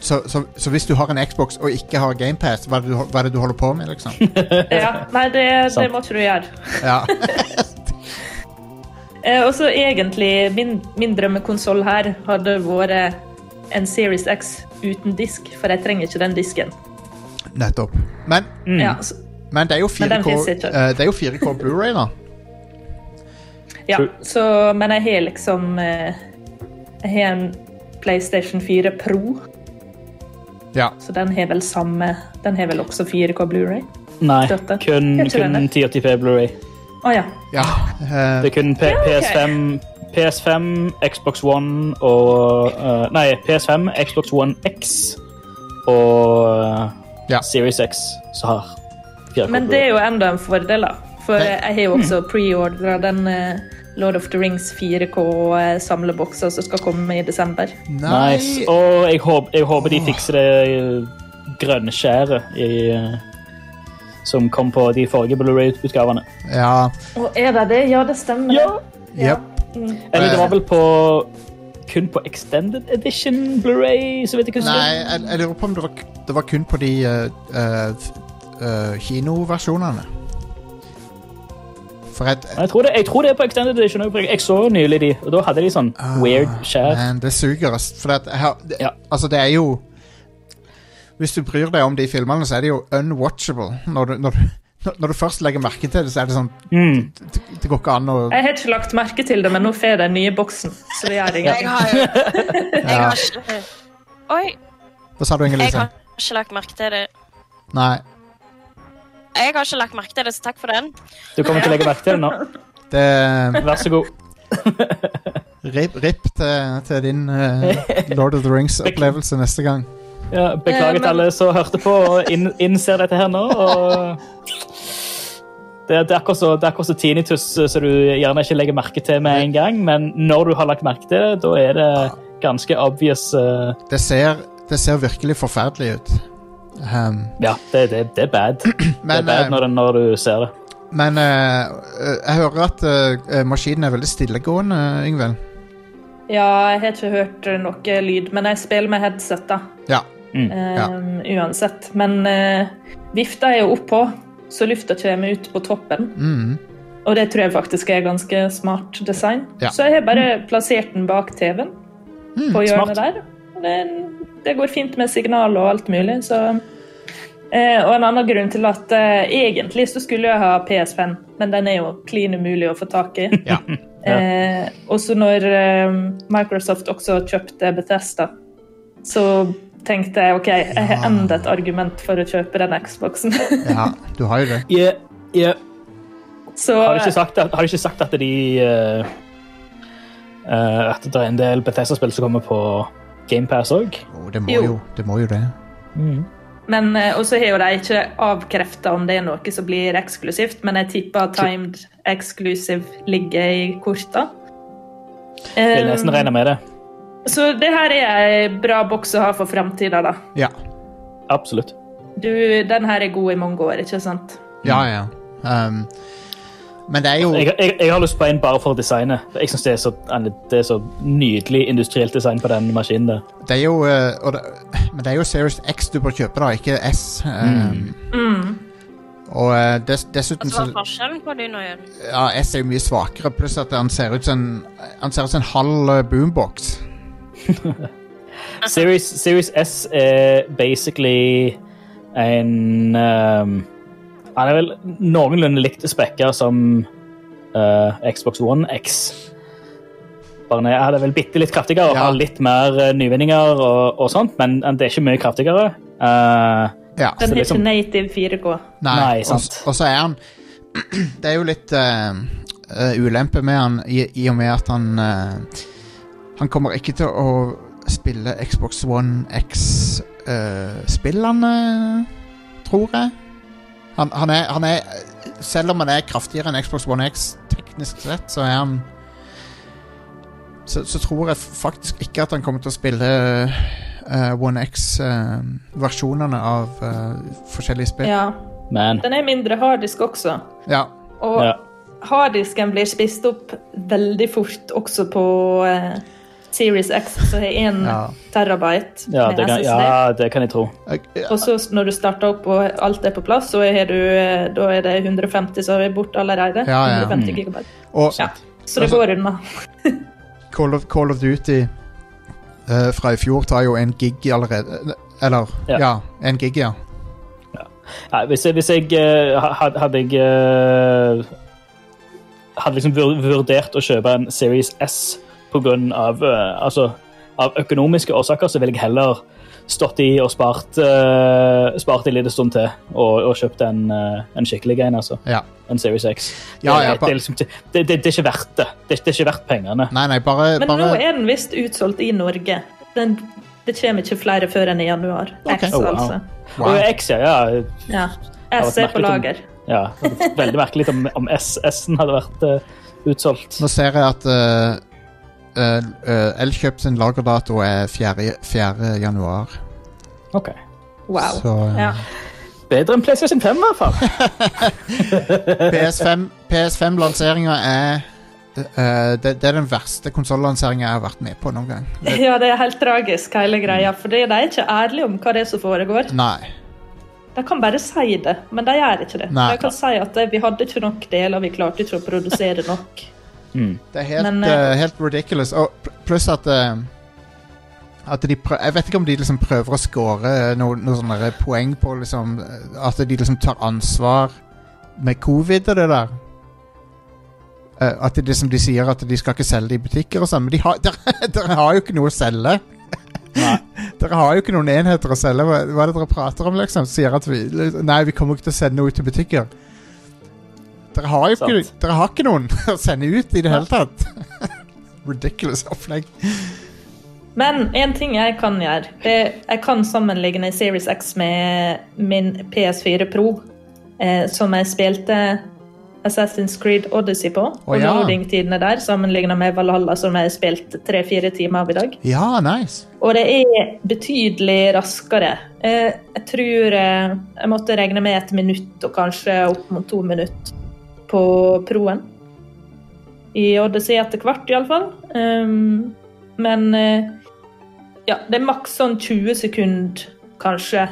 Speaker 1: Så, så, så hvis du har en Xbox og ikke har GamePass, hva er det du, hol- hva er det du holder på med, liksom?
Speaker 5: Ja, nei, det, det
Speaker 4: Sant.
Speaker 5: må ikke du gjøre.
Speaker 1: Ja.
Speaker 5: Eh, og så egentlig, min, min drømmekonsoll her hadde vært en Series X uten disk, for jeg trenger ikke den disken.
Speaker 1: Nettopp. Men,
Speaker 5: Ja, så,
Speaker 1: men det er jo
Speaker 5: Men den
Speaker 1: 4K,
Speaker 5: finnes ikke.
Speaker 1: eh, det er jo 4K Blu-ray, da.
Speaker 5: Ja,
Speaker 4: True.
Speaker 5: så, men jeg har liksom eh, Jeg har en PlayStation 4 Pro,
Speaker 1: Ja.
Speaker 5: så den har vel samme Den har vel også 4K Blu-ray.
Speaker 4: Nei,
Speaker 5: Støtte.
Speaker 4: kun,
Speaker 5: Jeg tror
Speaker 4: kun
Speaker 5: det.
Speaker 4: 1080p Blu-ray.
Speaker 5: Å ja.
Speaker 1: ja. eh,
Speaker 4: Det er kun P
Speaker 5: ok.
Speaker 4: PS5, PS5, Xbox One og eh, Nei, PS5, Xbox One X og eh,
Speaker 1: Ja.
Speaker 4: Series X som har 4K
Speaker 5: Men det er jo enda en fordel, da. For jeg har jo også
Speaker 4: Mm.
Speaker 5: preordra den eh, Lord of the Rings 4K-samleboksa som skal komme i desember.
Speaker 1: Eh, nei.
Speaker 4: Nice. Og jeg, håp, jeg håper de fikser det grønne skjæret i eh, som kom på de forrige Blu-ray-utgavene.
Speaker 1: Ja.
Speaker 5: Og er det det? Ja, det stemmer.
Speaker 4: Ja.
Speaker 1: Yep.
Speaker 4: Eller det var vel på kun på Extended Edition Blu-ray, så vidt jeg husker.
Speaker 1: Nei, jeg, jeg lurer på om det var, det var kun på de eh, eh, f- eh, kinoversjonene. For et
Speaker 4: Jeg tror, det, jeg tror det er på Extended Edition. også, for Jeg jeg så nylig de, og da hadde de
Speaker 1: Ah,
Speaker 4: sånn weird skjær.
Speaker 1: Men det suger, ass. For at, her, det,
Speaker 4: Ja.
Speaker 1: altså, det er jo hvis du bryr deg om de filmene, så er de jo unwatchable. Når du, når du, når- når du først legger merke til det, så er det sånn
Speaker 4: Mm.
Speaker 1: Det, det går ikke an å
Speaker 5: Jeg har ikke lagt merke til det, men nå får jeg den nye boksen. Så det gjør
Speaker 6: Jeg
Speaker 5: ingenting.
Speaker 6: har jo Jeg
Speaker 1: ja.
Speaker 6: har ikke Oi,
Speaker 1: Hva sa du,
Speaker 6: jeg
Speaker 1: Inger-Lise?
Speaker 6: har ikke lagt merke til det.
Speaker 1: Nei.
Speaker 6: Jeg har ikke lagt merke til det, så takk for den.
Speaker 4: Du kommer til å legge merke til det nå.
Speaker 1: Det
Speaker 4: Vær så god.
Speaker 1: Rip, rip til, til din eh, Lord of the Rings-opplevelse neste gang.
Speaker 4: Ja,
Speaker 5: Eh,
Speaker 4: beklager
Speaker 5: men-
Speaker 4: til alle som hørte på og inn, innser dette her nå. Og det, det er akkurat så- det er akkurat så tinnitus eh, som du gjerne ikke legger merke til med en gang, men når du har lagt merke til det, da er det
Speaker 1: Ah.
Speaker 4: ganske obvious. eh,
Speaker 1: Det ser, det ser virkelig forferdelig ut. Ehm,
Speaker 4: Ja, det, det, det er bad. Det er
Speaker 1: men
Speaker 4: bad
Speaker 1: eh,
Speaker 4: når, det, når du ser det.
Speaker 1: men eh, eh, jeg hører at eh, eh, maskinen er veldig stillegående, Yngvild.
Speaker 5: Ja, jeg har ikke hørt noe lyd, men jeg spiller med headset, da.
Speaker 1: Ja.
Speaker 4: Mm,
Speaker 5: Ehm, Uansett. Men eh, vifta er jo oppå, så lufta kommer ut på toppen.
Speaker 1: Mm.
Speaker 5: Og det tror jeg faktisk er ganske smart design.
Speaker 1: Ja. Mm,
Speaker 5: Så jeg har bare plassert den bak TV-en på hjørnet
Speaker 4: smart.
Speaker 5: der. Men det går fint med signal og alt mulig, så eh, Og en annen grunn til at eh, egentlig så skulle jeg ha PS5, men den er jo klin umulig å få tak i.
Speaker 1: Ja.
Speaker 5: Eh, og så når eh, Microsoft også kjøpte Bethesda, så tenkte jeg OK, jeg har enda et argument for å kjøpe den Xboxen.
Speaker 1: ja, du har jo det.
Speaker 4: Yeah, yeah.
Speaker 5: så
Speaker 4: Har, du ikke sagt at, har du ikke sagt at de eh, eh, At det er en del Bethesda-spill som kommer på GamePass òg?
Speaker 1: Å, det, må
Speaker 5: Jo.
Speaker 1: jo, det må jo det.
Speaker 5: Men eh, Og så har jo de ikke avkrefta om det er noe som blir eksklusivt, men jeg tipper at timed exclusive ligger i korta. Eh,
Speaker 4: Vil
Speaker 5: Um.
Speaker 4: nesten regne med det.
Speaker 5: så det her er ei bra boks å ha for framtida, da.
Speaker 1: Ja.
Speaker 4: Absolutt.
Speaker 5: Du, den her er god i mange år, ikke sant?
Speaker 1: Ja, ja. Ehm, men det er jo
Speaker 4: Jeg, jeg, jeg har lyst på en bare for designet. Jeg synes det, er så, det er så nydelig industrielt design på den maskinen. der.
Speaker 1: Det er jo, eh, og det, men det er jo Series X du bør kjøpe, da, ikke S. Ehm,
Speaker 4: Mm.
Speaker 1: Og eh, dess- dessuten
Speaker 6: Altså, hva
Speaker 1: så
Speaker 6: er forskjellen på de nå igjen?
Speaker 1: Ja, S er jo mye svakere, pluss at han ser ut som en, han ser ut som en halv eh, boombox.
Speaker 4: Series, Series S er basically en ehm, Han er vel noenlunde likt spekka som eh, Xbox One X. Bare ned, han er vel bitte litt kraftigere og
Speaker 1: Ja.
Speaker 4: har litt mer eh, nyvinninger, og, og sånt, men det er ikke mye kraftigere. Eh,
Speaker 1: Ja.
Speaker 5: Den
Speaker 4: Så
Speaker 5: har
Speaker 4: liksom-
Speaker 5: ikke native 4K.
Speaker 1: Nei,
Speaker 4: Nei,
Speaker 1: og-
Speaker 4: sant.
Speaker 1: Og, så er han Det er jo litt eh, eh, ulempe med han i, i og med at han eh, Han kommer ikke til å spille Xbox One X-spillene, tror jeg. Han, han, er, han er Selv om han er kraftigere enn Xbox One X teknisk sett, så er han så, så tror jeg faktisk ikke at han kommer til å spille eh, One X-versjonene av eh, forskjellige spill.
Speaker 5: Ja.
Speaker 4: men
Speaker 5: Den er mindre harddisk også.
Speaker 1: Ja.
Speaker 5: Og
Speaker 4: ja.
Speaker 5: harddisken blir spist opp veldig fort også på eh, Series X, som har én
Speaker 1: Ja.
Speaker 5: terabyte
Speaker 4: Ja,
Speaker 5: med
Speaker 4: det kan,
Speaker 5: SSD.
Speaker 4: ja, det kan jeg tro.
Speaker 1: Jeg-
Speaker 5: Og så når du starter opp og alt er på plass, så har du, eh, da er det 150 som er borte allerede.
Speaker 1: Ja, ja.
Speaker 5: 150
Speaker 4: Mm.
Speaker 5: gigabyte.
Speaker 1: Og
Speaker 5: Ja. Så det
Speaker 1: Altså-
Speaker 5: går unna.
Speaker 1: Call of, Call of Duty eh, fra i fjor tar jo en gig allerede. Eller
Speaker 4: Ja.
Speaker 1: ja, en gig, ja.
Speaker 4: Nei, hvis jeg, hvis jeg eh, ha- had- hadde jeg eh, hadde liksom vur- vurdert å kjøpe en Series S på grunn av, eh, altså, av økonomiske årsaker, så ville jeg heller stått i og spart, eh, spart en liten stund til og, og kjøpt en, eh, en skikkelig en, altså.
Speaker 1: ja.
Speaker 4: En Series X.
Speaker 1: Ja, ja,
Speaker 4: det, det, er liksom, det, det, det er ikke verdt det. Det, er- det er ikke verdt pengene.
Speaker 1: Nei, nei, bare,
Speaker 5: Men nå
Speaker 1: bare
Speaker 5: er den visst utsolgt i Norge. Den, det kommer ikke flere før enn i januar. X,
Speaker 4: Oh, wow.
Speaker 5: altså.
Speaker 1: Wow.
Speaker 4: Og X, ja. ja.
Speaker 5: Ja.
Speaker 4: vært
Speaker 5: S er på
Speaker 4: merkelig om-
Speaker 5: lager.
Speaker 4: ja veldig merkelig om, om S, S-en hadde vært eh, utsolgt.
Speaker 1: Nå ser jeg at uh, Elkjøp sin lagerdato er 4. 4. januar.
Speaker 4: Ok.
Speaker 5: Wow.
Speaker 1: Så eh,
Speaker 5: Ja.
Speaker 4: Bedre enn PlayStation 5, i hvert fall.
Speaker 1: PS5, PS5-lanseringa er eh, det, det er den verste konsollanseringa jeg har vært med på noen gang.
Speaker 5: ja, det er helt tragisk, hele greia. For de er ikke ærlige om hva det er som foregår.
Speaker 1: Nei.
Speaker 5: De kan bare si det, men de gjør ikke det.
Speaker 1: Nei.
Speaker 5: De kan si at eh, vi hadde ikke nok deler, vi klarte ikke å produsere nok.
Speaker 4: Mm.
Speaker 1: Det er helt,
Speaker 5: Men,
Speaker 1: eh,
Speaker 5: eh,
Speaker 1: helt ridiculous. Og pl- pluss at eh, At de prø jeg vet ikke om de liksom prøver å score noen noe sånne der poeng på liksom At de liksom tar ansvar med covid og det der. Eh, At de, liksom, de sier at de skal ikke selge det i butikker og sånn, men de har, dere, dere har jo ikke noe å selge.
Speaker 4: Nei.
Speaker 1: Dere har jo ikke noen enheter å selge. Hva, hva er det dere prater om, liksom? Sier at vi Nei, vi kommer ikke til å sende noe ut til butikker. Dere har jo ikke,
Speaker 4: Sant.
Speaker 1: dere har ikke noen å sende ut i det hele tatt. Ridiculous opplegg.
Speaker 5: Men en ting jeg kan gjøre det, Jeg kan sammenligne Series X med min PS4 Pro, eh, som jeg spilte Assassin's Creed Odyssey på. og
Speaker 1: ja.
Speaker 5: loading-tidene der, sammenlignet med Valhalla, som jeg spilte tre-fire timer av i dag.
Speaker 1: Ja, nice.
Speaker 5: Og det er betydelig raskere. Eh, jeg tror eh, jeg måtte regne med et minutt og kanskje opp mot to minutter på proen. I Odyssey etter hvert, iallfall. Um, men eh, ja, det er maks sånn 20 sekunder, kanskje.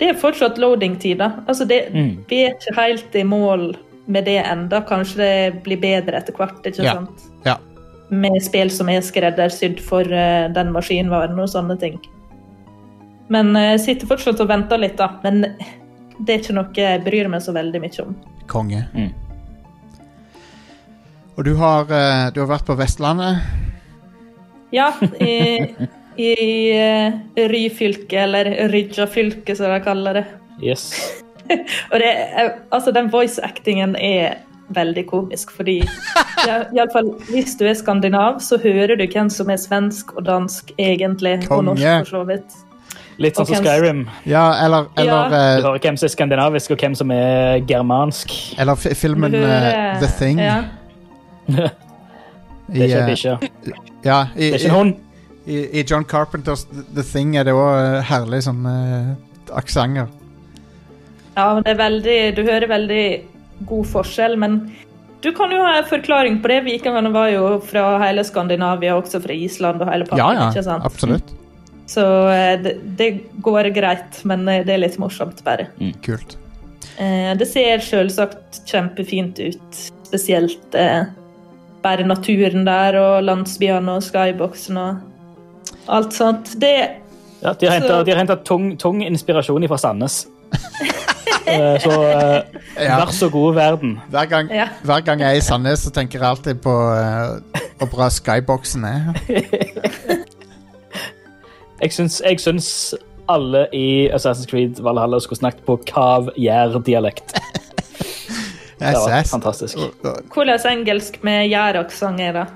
Speaker 5: Det er fortsatt loading-tid, da. Altså, det,
Speaker 4: Mm.
Speaker 5: vi er ikke helt i mål med det enda. Kanskje det blir bedre etter hvert, ikke
Speaker 1: Ja.
Speaker 5: sant?
Speaker 1: Ja.
Speaker 5: med spill som er skreddersydd for eh, den maskinvaren og sånne ting. Men eh, jeg sitter fortsatt og venter litt, da. Men det er ikke noe jeg bryr meg så veldig mye om.
Speaker 1: Konge.
Speaker 4: Mm.
Speaker 1: Og du har, eh, du har vært på Vestlandet.
Speaker 5: Ja, i, i eh, Ryfylke, eller Rydjafylke, som de kaller det.
Speaker 4: Yes.
Speaker 5: Og det, er- altså, den voice-actingen er veldig komisk, fordi ja, i alle fall, hvis du er skandinav, så hører du hvem som er svensk og dansk, egentlig. Og norsk,
Speaker 1: Konge.
Speaker 5: for så vidt.
Speaker 4: Litt sånn som
Speaker 5: Ok.
Speaker 4: Skyrim.
Speaker 1: Ja, eller Eller,
Speaker 4: Du
Speaker 1: eh,
Speaker 4: hører hvem som er skandinavisk, og hvem som er germansk.
Speaker 1: eller fi- filmen
Speaker 5: Du hører-
Speaker 1: eh, The Thing.
Speaker 5: Ja.
Speaker 1: I,
Speaker 4: Det er ikke en
Speaker 1: eh,
Speaker 4: bikkje.
Speaker 1: ja, i,
Speaker 4: Det er ikke en
Speaker 1: i,
Speaker 4: hund.
Speaker 1: i, I John Carpenters The- The Thing er det òg herlig sånn uh, aksenter.
Speaker 5: Ja, men det er veldig, du hører veldig god forskjell, men du kan jo ha en forklaring på det. Vikingene var jo fra hele Skandinavia, også fra Island og hele
Speaker 1: Ja,
Speaker 5: pakken.
Speaker 1: ja,
Speaker 5: ikke sant?
Speaker 1: absolutt.
Speaker 5: Så eh, det, det går greit, men eh, det er litt morsomt bare.
Speaker 1: Kult.
Speaker 5: Eh, Det ser selvsagt kjempefint ut, spesielt eh, bare naturen der og landsbyene og skyboxen og alt sånt. Det
Speaker 4: Ja, de har hentet- de har henta tung, tung inspirasjon fra Sandnes. Eh, Så eh,
Speaker 1: Ja.
Speaker 4: vær så god, verden.
Speaker 1: Hver gang,
Speaker 5: Ja.
Speaker 1: hver gang jeg er i Sandnes, så tenker jeg alltid på eh, hvor bra skyboxen er.
Speaker 4: Jeg syns, jeg syns alle i Assassin's Creed Valhalla skulle snakket på kav-jær-dialekt.
Speaker 1: Det
Speaker 4: Det
Speaker 1: er
Speaker 4: var
Speaker 1: sass.
Speaker 4: fantastisk.
Speaker 1: Og- og-
Speaker 5: hvordan engelsk med gjæraksang er det?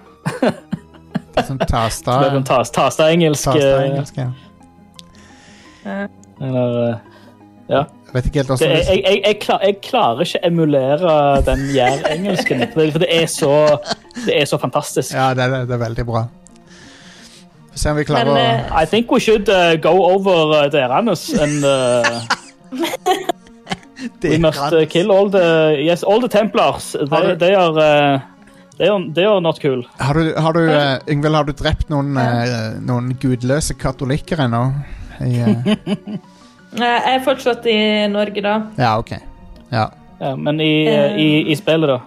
Speaker 1: Sånn tasta
Speaker 4: Det blir tas- Tasta-engelsk.
Speaker 1: tasta
Speaker 4: eh,
Speaker 1: engelsk, ja.
Speaker 4: Eller eh, Ja.
Speaker 1: Jeg vet ikke helt
Speaker 4: Det,
Speaker 1: hvordan
Speaker 4: jeg,
Speaker 1: det
Speaker 4: jeg, jeg, klar, jeg klarer ikke emulere den jær-engelsken. For det- for det er så, det er så fantastisk.
Speaker 1: Ja, det er, det er veldig bra. Få se om vi klarer
Speaker 5: Men
Speaker 1: å
Speaker 5: eh,
Speaker 4: I think we should uh, go over uh, there, Anders, and uh, we must uh, kill all the yes, all the Templars.
Speaker 1: Har
Speaker 4: They,
Speaker 1: du-
Speaker 4: they are uh, they are they are not cool.
Speaker 1: Har du, har du eh, Yngvild, har du drept noen, eh, noen gudløse katolikker ennå? I, eh,
Speaker 5: Eh, jeg er fortsatt i Norge, da.
Speaker 1: ja, OK. Ja.
Speaker 4: Ja, men i, uh,
Speaker 6: Eh.
Speaker 4: i, i spillet, da.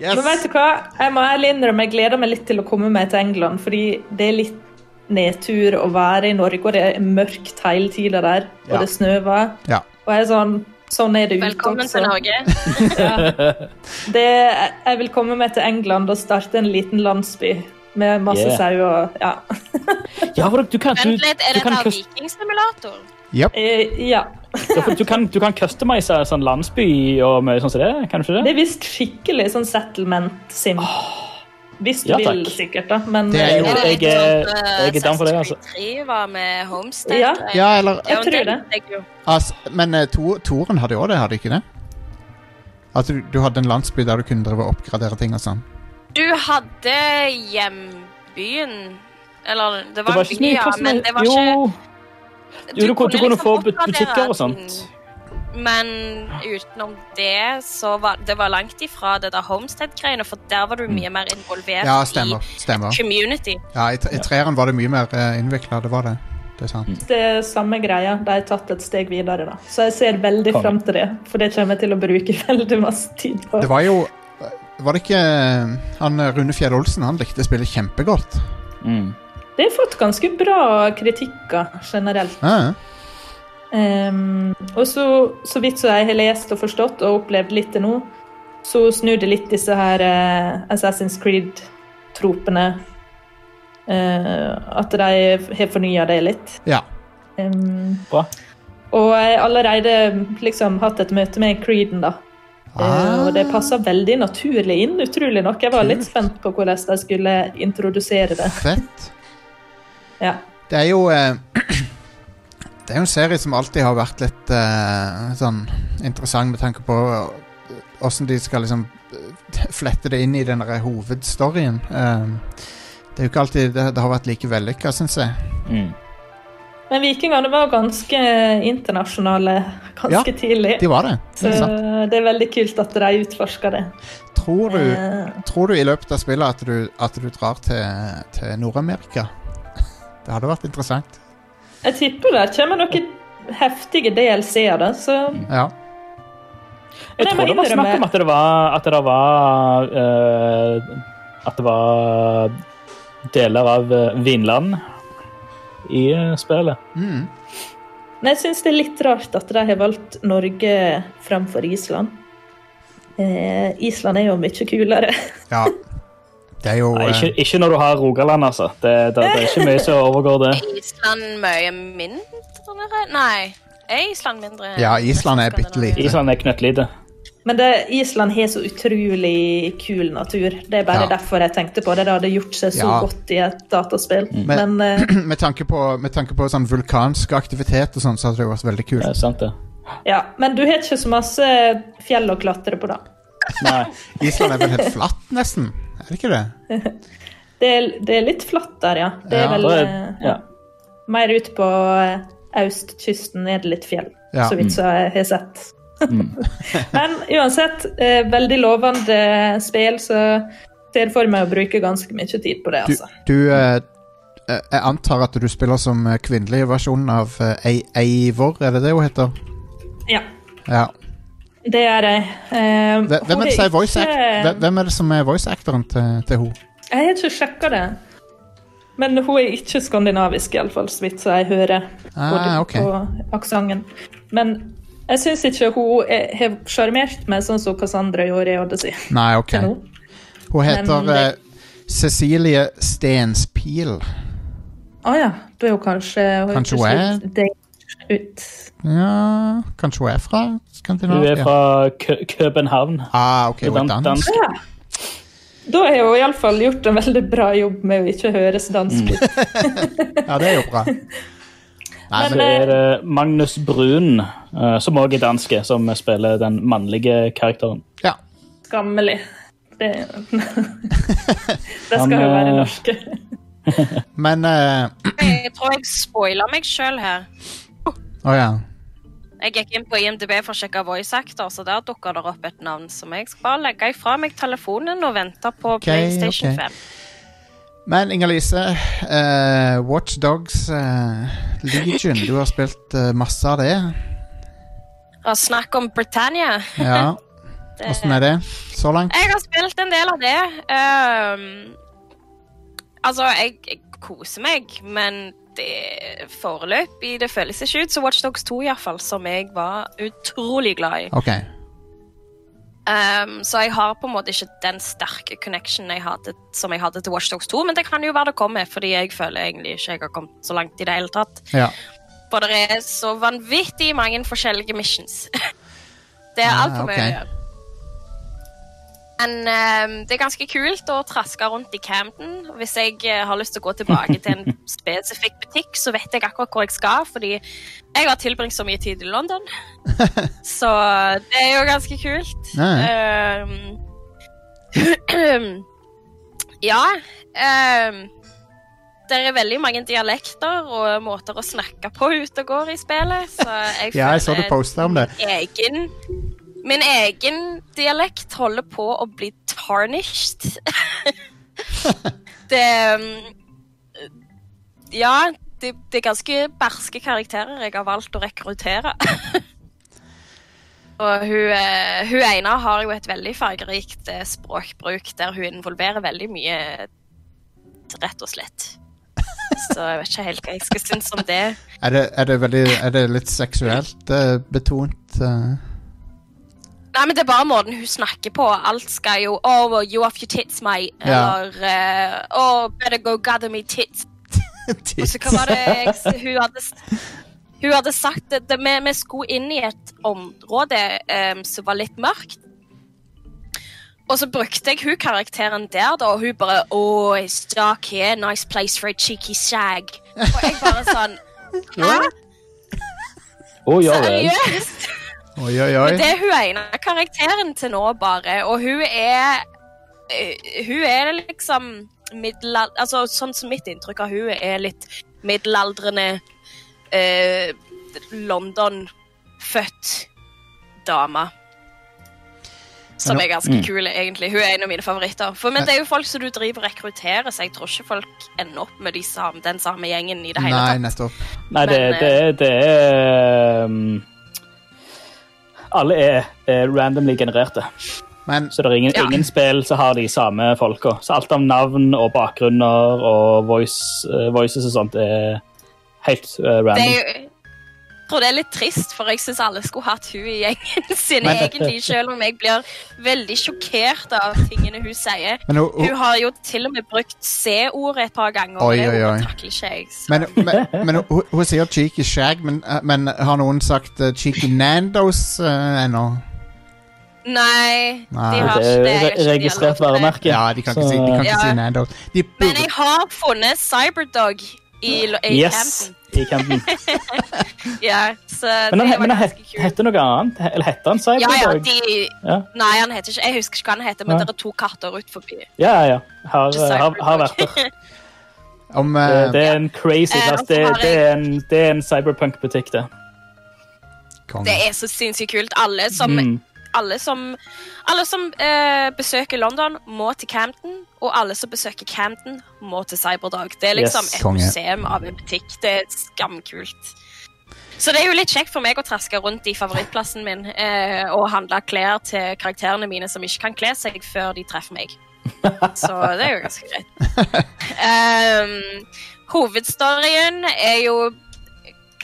Speaker 5: Men vet du hva? Jeg må ærlig innrømme, jeg gleder meg litt til å komme meg til England, fordi det er litt nedtur å være i Norge, og det er mørkt hele tida der, og
Speaker 1: Ja.
Speaker 5: det snøver.
Speaker 1: Ja.
Speaker 5: Og jeg er sånn Sånn er det ute
Speaker 6: Velkommen
Speaker 5: også.
Speaker 6: til Norge.
Speaker 5: Det, jeg vil komme meg til England og starte en liten landsby med masse
Speaker 4: Yeah.
Speaker 5: sau og Ja.
Speaker 4: Ja, for du, du kan du,
Speaker 6: Vent litt, er
Speaker 4: du
Speaker 6: det
Speaker 4: kan,
Speaker 6: en
Speaker 4: cus-
Speaker 6: vikingsimulator?
Speaker 1: Yep.
Speaker 5: Eh, ja.
Speaker 4: ja, for du kan du kan customize sånn landsby og mye sånn som det, kan du ikke
Speaker 5: Det
Speaker 4: det?
Speaker 5: er visst skikkelig sånn settlement sim. Hvis du
Speaker 4: Ja,
Speaker 5: vil,
Speaker 4: takk.
Speaker 5: sikkert, da, men
Speaker 1: Det er jo-
Speaker 5: eh,
Speaker 6: Er det litt
Speaker 4: Jeg er-
Speaker 6: sånn, eh,
Speaker 4: jeg er down for det, altså.
Speaker 6: Assassin's Creed 3 var med Homestead. eh,
Speaker 5: Ja.
Speaker 6: og-
Speaker 1: Ja, eller
Speaker 5: Jeg
Speaker 6: men
Speaker 5: tror det.
Speaker 6: likte jeg jo.
Speaker 1: as, Men eh, to, Toren hadde jo også det, hadde ikke det? At du, du hadde en landsby der du kunne drive og oppgradere ting og sånn?
Speaker 6: Du hadde hjembyen Eller det var,
Speaker 4: Det
Speaker 6: en by, ja, men det var
Speaker 4: jo.
Speaker 6: ikke liksom
Speaker 4: Jo, du kunne- du kunne få
Speaker 6: oppgradere
Speaker 4: butikker og sånt.
Speaker 6: ting. Men utenom det, så var det var langt ifra det der Homestead-greiene, for der var du
Speaker 4: Mm.
Speaker 6: mye mer involvert
Speaker 1: Ja, stemmer. stemmer.
Speaker 6: i community.
Speaker 1: Ja, I, tre- i treeren var det mye mer uh, innvikla, det var det. Det er sant.
Speaker 5: det er samme greia. De har tatt et steg videre, da. Så jeg ser veldig
Speaker 4: Konge.
Speaker 5: fram til det, for det kommer jeg til å bruke veldig masse tid på.
Speaker 1: Det var jo Var det ikke han eh, Rune Fjell Olsen? Han likte spillet kjempegodt.
Speaker 4: Mm.
Speaker 5: Det har fått ganske bra kritikker generelt.
Speaker 1: Ja, ja.
Speaker 5: Ehm, og så, så vidt som jeg har lest og forstått og opplevd litt til nå, så snur det litt disse her eh, Assassin's Creed-tropene. eh, at de har fornya det litt.
Speaker 1: ja.
Speaker 5: Ehm,
Speaker 4: Bra.
Speaker 5: og jeg har allerede liksom hatt et møte med Creeden, da. Eh,
Speaker 1: Ah.
Speaker 5: og det passa veldig naturlig inn, utrolig nok. Jeg var litt
Speaker 1: Kult.
Speaker 5: spent på hvordan de skulle introdusere det.
Speaker 1: Fett.
Speaker 5: Ja.
Speaker 1: Det er jo eh, Det er jo en serie som alltid har vært litt eh, sånn interessant med tanke på åssen de skal liksom eh, flette det inn i den der hovedstoryen. Eh, det er jo ikke alltid det, det har vært like vellykka, syns jeg.
Speaker 4: Mm.
Speaker 5: Men vikingene var ganske internasjonale ganske tidlig.
Speaker 1: De var det.
Speaker 5: Så eh,
Speaker 1: Ikke sant?
Speaker 5: det er veldig kult at de utforska det.
Speaker 1: Tror du,
Speaker 5: Eh,
Speaker 1: tror du i løpet av spillet at du, at du drar til, til Nord-Amerika? Det hadde vært interessant.
Speaker 5: Jeg tipper det kommer noen heftige DLC-er, da. Så
Speaker 1: Ja.
Speaker 5: Nei,
Speaker 4: Jeg tror
Speaker 5: men
Speaker 4: det var
Speaker 5: innrømme-
Speaker 4: snakk om at det var At det var, eh, at det var deler av eh, Vinland i eh, spillet.
Speaker 1: Mm.
Speaker 5: Men jeg syns det er litt rart at de har valgt Norge framfor Island. Eh, Island er jo mye kulere.
Speaker 1: ja. Det er jo
Speaker 4: Nei,
Speaker 1: eh,
Speaker 4: ikke, ikke når du har Rogaland, altså. Det, det, det er ikke mye som overgår det.
Speaker 6: Er Island mye mindre? Nei. Er Island mindre? enn
Speaker 1: Ja, Island er
Speaker 6: resten av Skandinavia?
Speaker 1: bittelite.
Speaker 4: Island er knøttlite.
Speaker 5: Men det, Island har så utrolig kul natur. Det er bare
Speaker 1: Ja.
Speaker 5: derfor jeg tenkte på det. Det hadde gjort seg så
Speaker 1: Ja. Mm.
Speaker 5: godt i et dataspill.
Speaker 1: Men-
Speaker 5: Men, eh,
Speaker 1: med tanke på, med tanke på sånn vulkansk aktivitet og sånn, så hadde det vært veldig
Speaker 4: Det
Speaker 1: kult.
Speaker 4: er sant, det.
Speaker 5: ja. Men du har ikke så masse fjell å klatre på, da.
Speaker 4: Nei.
Speaker 1: Island er vel helt flatt, nesten? Er det ikke det?
Speaker 5: Det er, det er litt flatt der, ja. Det er
Speaker 1: Ja,
Speaker 5: vel
Speaker 4: Da er,
Speaker 5: eh,
Speaker 4: ja.
Speaker 5: Mer ut på eh, østkysten er det litt fjell,
Speaker 1: Ja. Mm.
Speaker 5: så vidt som jeg har sett. Men uansett, eh, veldig lovende eh, spill, så ser for meg å bruke ganske mye tid på det,
Speaker 1: Du,
Speaker 5: altså.
Speaker 1: du eh, eh, Jeg antar at du spiller som eh, kvinnelig versjon av eh, Ei- Eivor, er det det hun heter?
Speaker 5: Ja,
Speaker 1: Ja.
Speaker 5: det er jeg. Eh,
Speaker 1: Hve- Hvem er det, som er voice act hve-
Speaker 5: Jeg
Speaker 1: hvem er, det som er voice actoren til, til hun?
Speaker 5: har ikke sjekka det. Men hun er ikke skandinavisk, iallfall, så vidt så jeg hører.
Speaker 1: Ah,
Speaker 5: både
Speaker 1: ok.
Speaker 5: på aksenten. Men jeg syns ikke hun er- har sjarmert meg sånn som Cassandra gjorde i Odyssey.
Speaker 1: Nei, OK.
Speaker 5: til nå.
Speaker 1: Hun heter
Speaker 5: det-
Speaker 1: eh, Cecilie Stenspil.
Speaker 5: Å Ah, ja. Da er hun kanskje
Speaker 1: Kanskje hun er-
Speaker 5: er ut.
Speaker 1: Ja Kanskje hun er fra
Speaker 4: Hun
Speaker 1: Skandinavia?
Speaker 4: er fra Kø København.
Speaker 1: Ah, OK, hun er
Speaker 4: Dan-
Speaker 1: dansk.
Speaker 4: dansk.
Speaker 5: Da har hun iallfall gjort en veldig bra jobb med å ikke høres dansk
Speaker 1: Mm.
Speaker 5: ut.
Speaker 1: Ja, det er jo bra. Nei,
Speaker 5: Men, eh,
Speaker 1: men
Speaker 4: Så er det Magnus Brun, eh, som òg er danske, som spiller den mannlige karakteren.
Speaker 1: Ja.
Speaker 5: Skammelig. Det, det skal jo
Speaker 4: Han,
Speaker 5: være
Speaker 4: eh,
Speaker 5: norske.
Speaker 1: Men eh,
Speaker 6: Jeg tror jeg spoiler meg sjøl her.
Speaker 1: Å ja.
Speaker 6: Jeg gikk inn på IMDb for å sjekke voice actor, så der dukka det opp et navn som jeg skal bare legge ifra meg telefonen og vente på PlayStation
Speaker 1: ok.
Speaker 6: 5.
Speaker 1: Men Inger-Lise, eh, Watch Dogs eh, Legion, du har spilt eh, masse av det.
Speaker 6: Og snakk om Britannia.
Speaker 1: Ja,
Speaker 6: Det-
Speaker 1: Åssen er det så langt?
Speaker 6: Jeg har spilt en del av det. Ehm, altså, jeg, jeg koser meg, men det foreløpig det føles ikke ut som Watch Dogs 2, iallfall, som jeg var utrolig glad i.
Speaker 1: OK.
Speaker 6: Ehm, så jeg har på en måte ikke den sterke connectionen jeg hadde, som jeg hadde til Watch Dogs 2, men det kan jo være det kommer, fordi jeg føler egentlig ikke jeg har kommet så langt i det hele tatt.
Speaker 1: Ja.
Speaker 6: For det er så vanvittig mange forskjellige missions. det er
Speaker 1: Ah,
Speaker 6: altfor mye å
Speaker 1: ok.
Speaker 6: gjøre. Men ehm, det er ganske kult å traske rundt i Camden. Hvis jeg eh, har lyst til å gå tilbake til en spesifikk butikk, så vet jeg akkurat hvor jeg skal, fordi jeg har tilbringt så mye tid i London. så det er jo ganske kult.
Speaker 1: Ja,
Speaker 6: Ehm, ja ehm, det er veldig mange dialekter og måter å snakke på ute og går i spillet, så jeg
Speaker 1: Ja, jeg så du posta om det.
Speaker 6: egen Min egen dialekt holder på å bli tarnished. det um, Ja, det, det er ganske barske karakterer jeg har valgt å rekruttere. Og hun, eh, hun ene har jo et veldig fargerikt eh, språkbruk der hun involverer veldig mye, rett og slett. Så jeg vet ikke helt hva jeg skal synes om det.
Speaker 1: Er det, er det, veldig, er det litt seksuelt eh, betont? eh?
Speaker 6: Nei, men det er bare måten hun snakker på. Alt skal jo Oh, well, you off your tits, mate.
Speaker 1: Ja.
Speaker 6: Eller eh, Oh, better go gather me tits. Og så hva var det jeg, s- hun hadde s- Hun hadde sagt at det- vi, vi skulle inn i et område em, som var litt mørkt. Og så brukte jeg hun karakteren der, da, og hun bare Oh, it's dark here. Nice place for a cheeky shag. Og jeg bare sånn Hæ?
Speaker 4: Å, ja vel.
Speaker 6: Seriøst?
Speaker 1: Oi, oi,
Speaker 6: Men det
Speaker 1: oi.
Speaker 6: er hun ene karakteren til nå, bare. Og hun er eh, Hun er liksom middelal... Altså, sånn som mitt inntrykk av hun er litt middelaldrende eh, London-født dame. Som
Speaker 1: Men
Speaker 6: er ganske
Speaker 4: Mm.
Speaker 6: kul, egentlig. Hun er en av mine favoritter. For, men det er jo folk som du driver og rekrutterer, så jeg tror ikke folk ender opp med de samme, den samme gjengen i det hele
Speaker 1: Nei,
Speaker 6: tatt.
Speaker 1: nettopp.
Speaker 4: Nei, det,
Speaker 6: Men,
Speaker 4: det, det er um, Alle er, er randomly genererte.
Speaker 1: Men
Speaker 4: Så det er ingen,
Speaker 6: Ja.
Speaker 4: ingen spill som har de samme folka. Så alt om navn og bakgrunner og voice, eh, voices og sånt er helt eh,
Speaker 6: Det
Speaker 4: random.
Speaker 6: er jo jeg tror det er litt trist, for jeg syns alle skulle hatt hun i gjengen sin
Speaker 4: Men-
Speaker 6: egentlig, selv om jeg blir veldig sjokkert av tingene hun sier.
Speaker 1: Men, hun-
Speaker 6: Hun
Speaker 1: hun-
Speaker 6: har jo til og med brukt C-ordet et par ganger, og
Speaker 1: Oi,
Speaker 6: det
Speaker 1: oi, oi.
Speaker 6: ordet takler ikke jeg. Så.
Speaker 1: men, men, men hun, hun sier cheeky shag, men, eh, men har noen sagt eh, cheeky nandos eh, ennå?
Speaker 6: Nei,
Speaker 1: Nei.
Speaker 6: de har
Speaker 4: Det
Speaker 6: ikke det.
Speaker 4: er
Speaker 6: Jeg vet
Speaker 4: re-
Speaker 6: ikke om de har
Speaker 4: registrert
Speaker 6: lov til det.
Speaker 4: varemerke.
Speaker 1: Ja, de kan ikke
Speaker 4: Så-
Speaker 1: si, de kan ikke
Speaker 6: Ja.
Speaker 1: si nandos. De
Speaker 6: Men
Speaker 1: burde
Speaker 6: jeg har funnet Cyberdog i, Lo- i
Speaker 4: Yes,
Speaker 6: Camden.
Speaker 4: i Camden.
Speaker 6: Ja, så
Speaker 4: Men han,
Speaker 6: det
Speaker 4: he-
Speaker 6: var
Speaker 4: men han
Speaker 6: ganske
Speaker 4: het-
Speaker 6: kult.
Speaker 4: heter noe annet? He- Eller heter han
Speaker 6: Ja, ja,
Speaker 4: Cyberdag?
Speaker 6: de...
Speaker 4: Ja.
Speaker 6: Nei, han heter ikke Jeg husker ikke hva han heter, men
Speaker 4: Nei.
Speaker 6: det er to katter ut forbi.
Speaker 4: Ja, ja. ja. Har,
Speaker 6: Ikke Cyberdag.
Speaker 4: har, har vært der.
Speaker 1: om
Speaker 4: Det,
Speaker 1: eh,
Speaker 4: det er en crazy
Speaker 6: Eh,
Speaker 4: plass.
Speaker 6: og så
Speaker 4: Det,
Speaker 6: har
Speaker 4: det,
Speaker 6: jeg-
Speaker 4: er en, det er en cyberpunk-butikk, det.
Speaker 1: kong.
Speaker 6: Det er så sinnssykt kult. Alle som,
Speaker 4: Mm.
Speaker 6: alle som, alle som eh, besøker London, må til Campton. Og alle som besøker Campton, må til Cyberdag. Det er liksom
Speaker 4: Yes.
Speaker 6: et
Speaker 1: Konge.
Speaker 6: museum av en butikk. Det er skamkult. Så det er jo litt kjekt for meg å traske rundt i favorittplassen min eh, og handle klær til karakterene mine som ikke kan kle seg før de treffer meg. Så det er jo ganske greit. Ehm, hovedstoryen er jo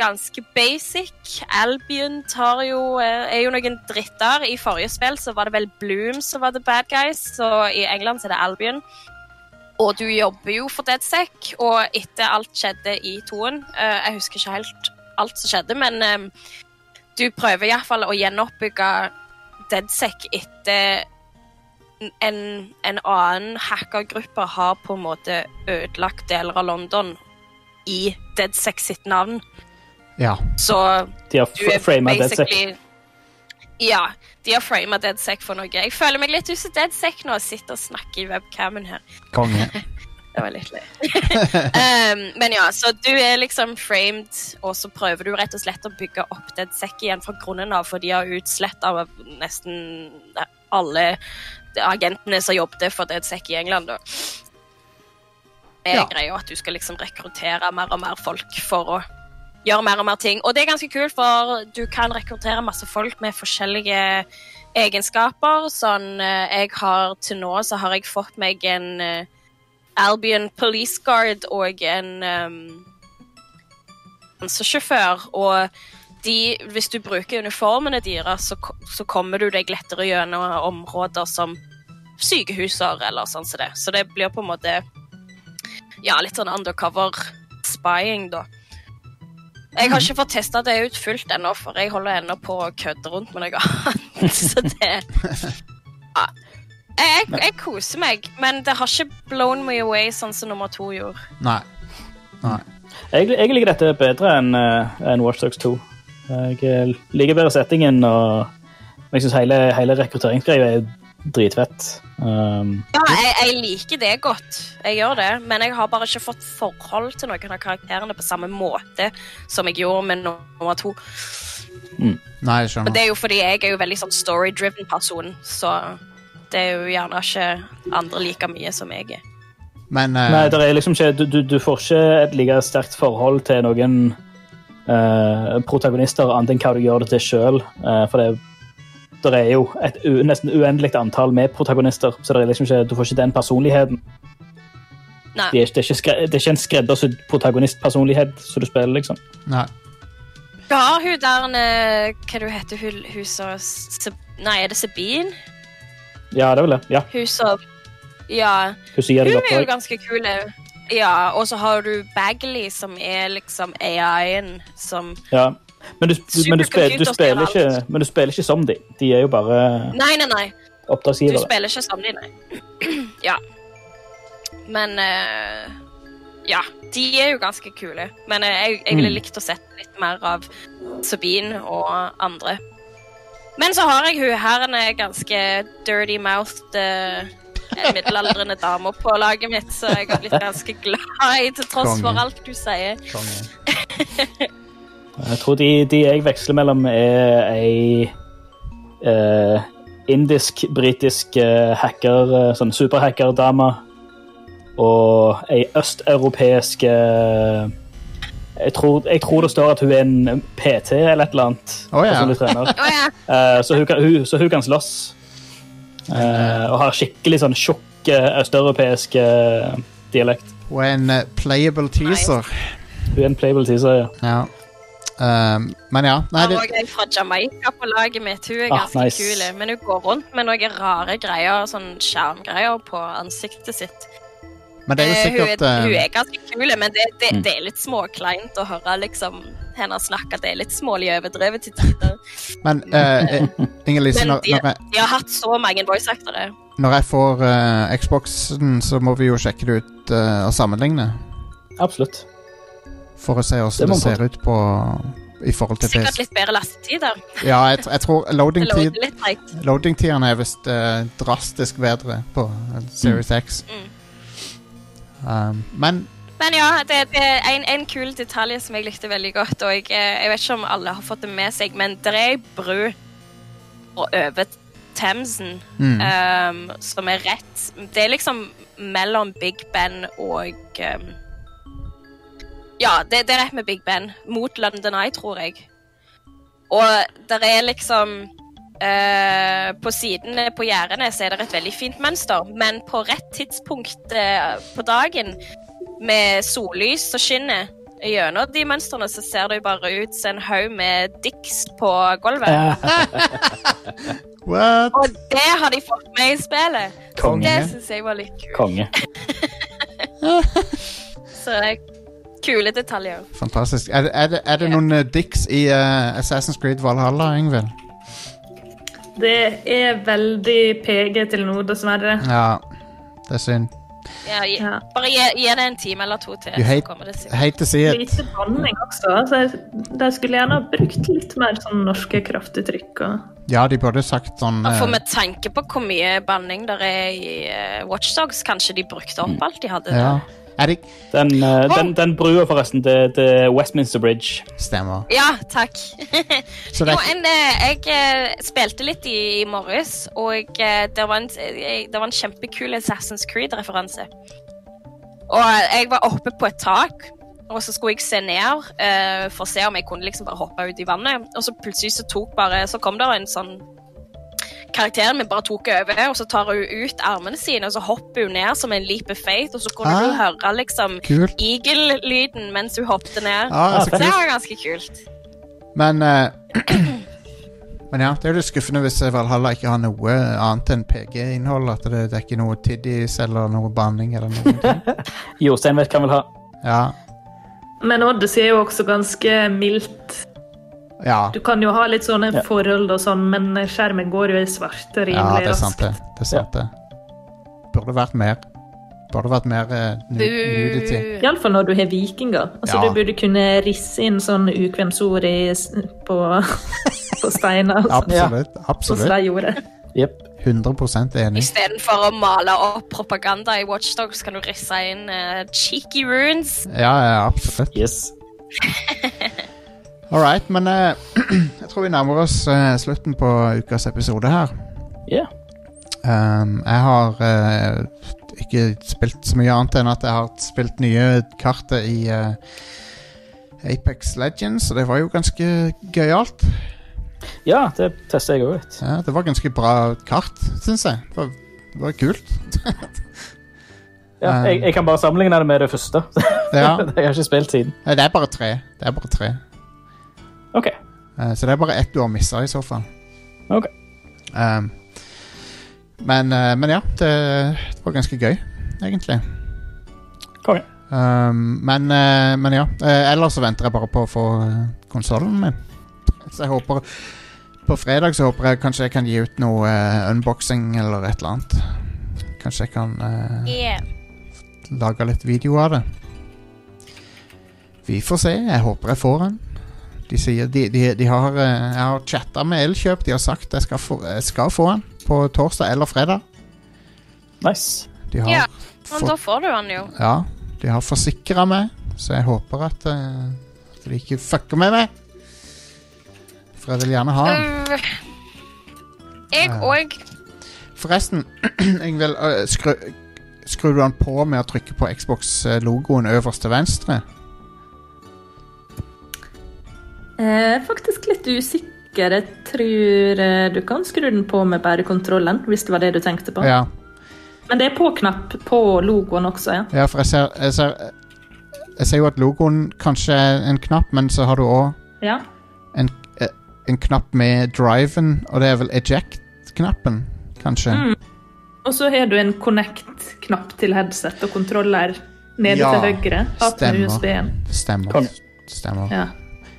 Speaker 6: ganske basic. Albion tar jo, eh, er jo noen dritter. I forrige spill så var det vel Bloom som var the bad guys, så i England så er det Albion. Og du jobber jo for DedSec, og etter alt skjedde i toen eh, Jeg husker ikke helt alt som skjedde, men eh, du prøver iallfall å gjenoppbygge DedSec etter en, en annen hackergruppe har på en måte ødelagt deler av London i DedSec sitt navn.
Speaker 1: Ja.
Speaker 6: Så
Speaker 4: De har
Speaker 6: du er
Speaker 4: fr- frama det. så-
Speaker 6: basically Ja, de har frama DedSec for noe. Jeg føler meg litt ut som DedSec nå, sitter og snakker i webcamen her.
Speaker 1: Konge.
Speaker 6: Det var litt løye. um, men ja, så du er liksom framed, og så prøver du rett og slett å bygge opp den sekk igjen fra grunnen av, for de har utsletta nesten alle de agentene som jobbet for Dead Sec i England, da. Det er
Speaker 1: Ja.
Speaker 6: greia at du skal liksom rekruttere mer og mer folk for å gjøre mer og mer ting. Og det er ganske kult, for du kan rekruttere masse folk med forskjellige egenskaper. Sånn eh, jeg har til nå, så har jeg fått meg en eh, Albion Police Guard og en um, ansesjåfør, og de, hvis du bruker uniformene deres, så, ko- så kommer du deg lettere gjennom områder som sykehuser eller sånn som det. Så det blir på en måte ja, litt sånn undercover spying, da. Jeg har ikke fått testa det ut fullt ennå, for jeg holder ennå på å kødde rundt med noe annet. Så det ja. jeg, jeg, jeg koser meg, men det har ikke blown me away sånn som nummer to gjorde.
Speaker 1: Nei. Nei.
Speaker 4: Jeg, jeg liker dette bedre enn eh, enn Watch Dogs 2. Jeg eh, liker bedre settingen, og jeg syns hele, hele rekrutteringsgreia er dritfett. Um,
Speaker 6: Ja, jeg, jeg liker det godt, jeg gjør det, men jeg har bare ikke fått forhold til noen av karakterene på samme måte som jeg gjorde med nummer to.
Speaker 1: Nei, jeg
Speaker 6: Men
Speaker 1: skjønner.
Speaker 6: det er jo fordi jeg er jo veldig sånn story-driven person, så det er jo gjerne ikke andre like mye som jeg er.
Speaker 1: Men eh,
Speaker 4: Nei, det er liksom ikke, du, du, du får ikke et like sterkt forhold til noen eh, protagonister annet enn hva du gjør det til sjøl. for det er det er jo et u nesten uendelig antall med protagonister, så det er liksom ikke, du får ikke den personligheten.
Speaker 6: Nei.
Speaker 4: Det er, det er, ikke, skre, det er ikke en skreddersydd protagonistpersonlighet som du spiller, liksom.
Speaker 1: Nei.
Speaker 6: Du har hun der eh, Hva du heter hun, hun som Se- Nei, er det Sabine?
Speaker 4: Ja, det er vel det. Ja,
Speaker 6: Hun som Ja.
Speaker 4: hun sier
Speaker 6: Hun
Speaker 4: det
Speaker 6: er jo
Speaker 4: godt.
Speaker 6: ganske kul. hun. Ja, og så har du Bagley, som er liksom AI-en som
Speaker 4: Ja. Men du, du- men, du spiller, du spiller
Speaker 6: Supercomputer styrer alt.
Speaker 4: ikke, men du spiller ikke som de. De er jo bare
Speaker 6: Nei, nei, nei. Du
Speaker 4: oppdragsgivere.
Speaker 6: spiller ikke som de, nei. ja. Men eh, Ja, de er jo ganske kule. Men eh, jeg, jeg ville
Speaker 4: Mm.
Speaker 6: likt å sett litt mer av Sabine og andre. Men så har jeg hun her, en eh, ganske dirty-mouthed eh, middelaldrende dame på laget mitt, så jeg har blitt ganske glad i, til tross
Speaker 1: Konge.
Speaker 6: for alt du sier.
Speaker 1: Konge.
Speaker 4: Jeg tror de, de jeg veksler mellom, er ei eh, indisk-britisk eh, hacker, eh, sånn superhackerdame, og ei østeuropeisk eh, jeg, tror- jeg tror det står at hun er en PT eller et eller annet.
Speaker 1: Å, ja.
Speaker 4: personlig trener.
Speaker 6: Å ja.
Speaker 4: Eh, så, hun kan, hun, så hun kan slåss. Eh, og har skikkelig sånn tjukk eh, østeuropeisk eh, dialekt.
Speaker 1: Og en eh, playable teaser.
Speaker 4: Hun er en playable teaser, ja.
Speaker 1: Ja. Ehm, men ja. Nei,
Speaker 6: Her
Speaker 1: det,
Speaker 6: var jeg fra Jamaica på laget mitt. Hun er
Speaker 4: Ah,
Speaker 6: ganske
Speaker 4: nice.
Speaker 6: kul, men hun går rundt med noen rare greier, sånn skjermgreier på ansiktet sitt.
Speaker 1: men det er jo
Speaker 6: Eh,
Speaker 1: sikkert
Speaker 6: hun, er, hun
Speaker 1: eh,
Speaker 6: er ganske kul, men det, det,
Speaker 4: Mm.
Speaker 6: det er litt småkleint å høre liksom, henne snakke. Det er litt smålig overdrevet til tider.
Speaker 1: Men eh, eh, Inger-Lise,
Speaker 6: Men
Speaker 1: når,
Speaker 6: de-
Speaker 1: når, jeg-
Speaker 6: De har hatt så mange voice-aktere.
Speaker 1: når jeg får eh, Xboxen, så må vi jo sjekke det ut eh, og sammenligne.
Speaker 4: Absolutt.
Speaker 1: For å se
Speaker 4: Det
Speaker 1: hvordan
Speaker 4: må
Speaker 1: det,
Speaker 4: man
Speaker 1: ser ut på i forhold til
Speaker 6: Sikkert
Speaker 1: PC.
Speaker 6: litt bedre lastetider.
Speaker 1: Ja, jeg, tr- jeg tror
Speaker 6: Eller
Speaker 1: loading-tid
Speaker 6: litt treigt.
Speaker 1: Loading-tidene er visst eh, drastisk bedre på eh, Series X.
Speaker 6: Mm.
Speaker 1: Um, men
Speaker 6: Men ja, det, det er en, en kul detalj som jeg likte veldig godt, og jeg, eh, jeg vet ikke om alle har fått det med seg, men det er ei bru og over Themsen
Speaker 1: mm,
Speaker 6: um, som er rett. Det er liksom mellom Big Ben og um, Ja, det, det er rett med Big Ben. Mot London Eye, tror jeg. Og der er liksom eh, På sidene på gjerdene så er det et veldig fint mønster, men på rett tidspunkt eh, på dagen, med sollys som skinner gjennom de mønstrene, så ser det jo bare ut som en haug med dicks på gulvet.
Speaker 1: What?
Speaker 6: Og det har de fått med i spillet.
Speaker 4: Konge.
Speaker 6: Det syns jeg var litt kult.
Speaker 4: Konge.
Speaker 6: Så det er kule detaljer.
Speaker 1: Fantastisk. Er, det- er, det, er det noen eh, dicks i eh, Assassin's Creed Valhalla, Ingvild?
Speaker 5: Det er veldig PG til nå, dessverre.
Speaker 1: Ja. Det er synd.
Speaker 6: Ja, gi,
Speaker 5: Ja.
Speaker 6: Bare gi, gi det en time eller to til,
Speaker 1: You
Speaker 6: så
Speaker 1: hate-
Speaker 6: kommer det sikkert.
Speaker 1: Hate to see it.
Speaker 5: Lite banning også. Så jeg, de skulle gjerne ha brukt litt mer sånn norske kraftuttrykk. Og...
Speaker 1: Ja, de burde sagt sånn
Speaker 6: Og For
Speaker 1: eh,
Speaker 6: med tanke på hvor mye banning der er i eh, Watch Dogs, kanskje de brukte opp alt de hadde.
Speaker 1: Mm. ja. Er det ikke
Speaker 4: Den, eh, den, den brua, forresten, det det er Westminster Bridge.
Speaker 1: Stemmer.
Speaker 6: Ja, takk.
Speaker 1: Så det
Speaker 6: jo,
Speaker 1: er ikke
Speaker 6: en, eh, jeg eh, spilte litt i, i morges, og eh, det var en, eh, det var en kjempekul Assassin's Creed-referanse. Og jeg var oppe på et tak, og så skulle jeg se ned eh, for å se om jeg kunne liksom bare hoppe ut i vannet. Og så plutselig så tok bare Så kom det en sånn Karakteren min bare tok over, og så tar hun ut armene sine, og så hopper hun ned som en leap of faith, og så kunne
Speaker 1: Ah.
Speaker 6: du høre liksom
Speaker 1: kult.
Speaker 6: eagle-lyden mens hun hoppet ned.
Speaker 1: Ah, så
Speaker 6: Så det
Speaker 1: kult.
Speaker 6: var ganske kult.
Speaker 1: Men eh, Men ja, det er jo litt skuffende hvis eh, Valhalla ikke har noe annet enn PG-innhold. At det, det er ikke noe tiddies eller noe banning eller noe.
Speaker 4: Jostein vet hva han vil ha.
Speaker 1: Ja.
Speaker 5: Men Odyssey er jo også ganske mildt.
Speaker 1: ja.
Speaker 5: Du kan jo ha litt sånne
Speaker 4: Ja.
Speaker 5: forhold og sånn, men skjermen går jo i svart rimelig
Speaker 1: Ja, det er
Speaker 5: raskt.
Speaker 1: sant, det. det, er sant, det. Burde vært mer. Burde vært mer eh, nu- nudity.
Speaker 6: Bu.
Speaker 5: Iallfall når du har vikinger. Altså,
Speaker 1: Ja.
Speaker 5: Du burde kunne risse inn sånn ukvemsord i, s- på, på steiner. og sånn,
Speaker 1: Absolutt.
Speaker 5: Sånn som
Speaker 1: absolutt.
Speaker 5: de gjorde.
Speaker 4: Jep.
Speaker 1: 100 enig.
Speaker 6: Istedenfor å male opp propaganda i Watchdogs, kan du risse inn eh, cheeky runes.
Speaker 1: Ja, ja, absolutt.
Speaker 4: Yes.
Speaker 1: All right, men eh, jeg tror vi nærmer oss eh, slutten på ukas episode her.
Speaker 4: Ja.
Speaker 1: Um, jeg har eh, ikke spilt så mye annet enn at jeg har spilt nye kartet i eh, Apex Legends, og det var jo ganske gøyalt.
Speaker 4: Ja, det tester jeg òg litt.
Speaker 1: Ja, det var ganske bra kart, syns jeg. Det var, det var kult.
Speaker 4: Ja,
Speaker 1: Um.
Speaker 4: jeg, jeg kan bare sammenligne det med det første.
Speaker 1: Ja.
Speaker 4: jeg har ikke spilt siden.
Speaker 1: Nei, det er bare tre. Det er bare tre.
Speaker 4: OK.
Speaker 1: Eh, Så det er bare ett du har missa, i så fall.
Speaker 4: Ok.
Speaker 1: Ehm, men, eh, men ja, det, det var ganske gøy, egentlig.
Speaker 4: Konge.
Speaker 1: Ehm, men, eh, men ja. eh, ellers så venter jeg bare på å få eh, konsollen min. Så jeg håper På fredag så håper jeg kanskje jeg kan gi ut noe eh, unboxing eller et eller annet. Kanskje jeg kan eh,
Speaker 6: Yeah.
Speaker 1: lage litt video av det. Vi får se. Jeg håper jeg får den. De sier De, de, de har eh, Jeg har chatta med Elkjøp. De har sagt jeg skal få, jeg skal få den på torsdag eller fredag.
Speaker 4: Nice.
Speaker 1: De har,
Speaker 6: Ja, Men da
Speaker 1: for,
Speaker 6: får du den jo.
Speaker 1: ja, de har forsikra meg, så jeg håper at, eh, at de ikke fucker med meg. For jeg vil gjerne ha den.
Speaker 6: Øh, Jeg
Speaker 1: Ja.
Speaker 6: òg.
Speaker 1: Forresten, Ingvild, øh, skru, skrur du den på med å trykke på Xbox-logoen øverst til venstre?
Speaker 5: Eh, faktisk litt usikker. Jeg tror eh, du kan skru den på med bare kontrollen, hvis det var det du tenkte på.
Speaker 1: Ja.
Speaker 5: Men det er på-knapp på logoen også, ja.
Speaker 1: Ja, for jeg ser, jeg ser Jeg ser jo at logoen kanskje er en knapp, men så har du òg
Speaker 5: ja.
Speaker 1: en knapp med driven, og det er vel eject-knappen, kanskje?
Speaker 5: Mm. Og så har du en connect-knapp til headset og kontroller nede
Speaker 1: Ja,
Speaker 5: til høyre. At med
Speaker 1: stemmer.
Speaker 5: USB-en.
Speaker 1: Det Stemmer.
Speaker 4: Konge.
Speaker 1: Stemmer.
Speaker 5: Ja.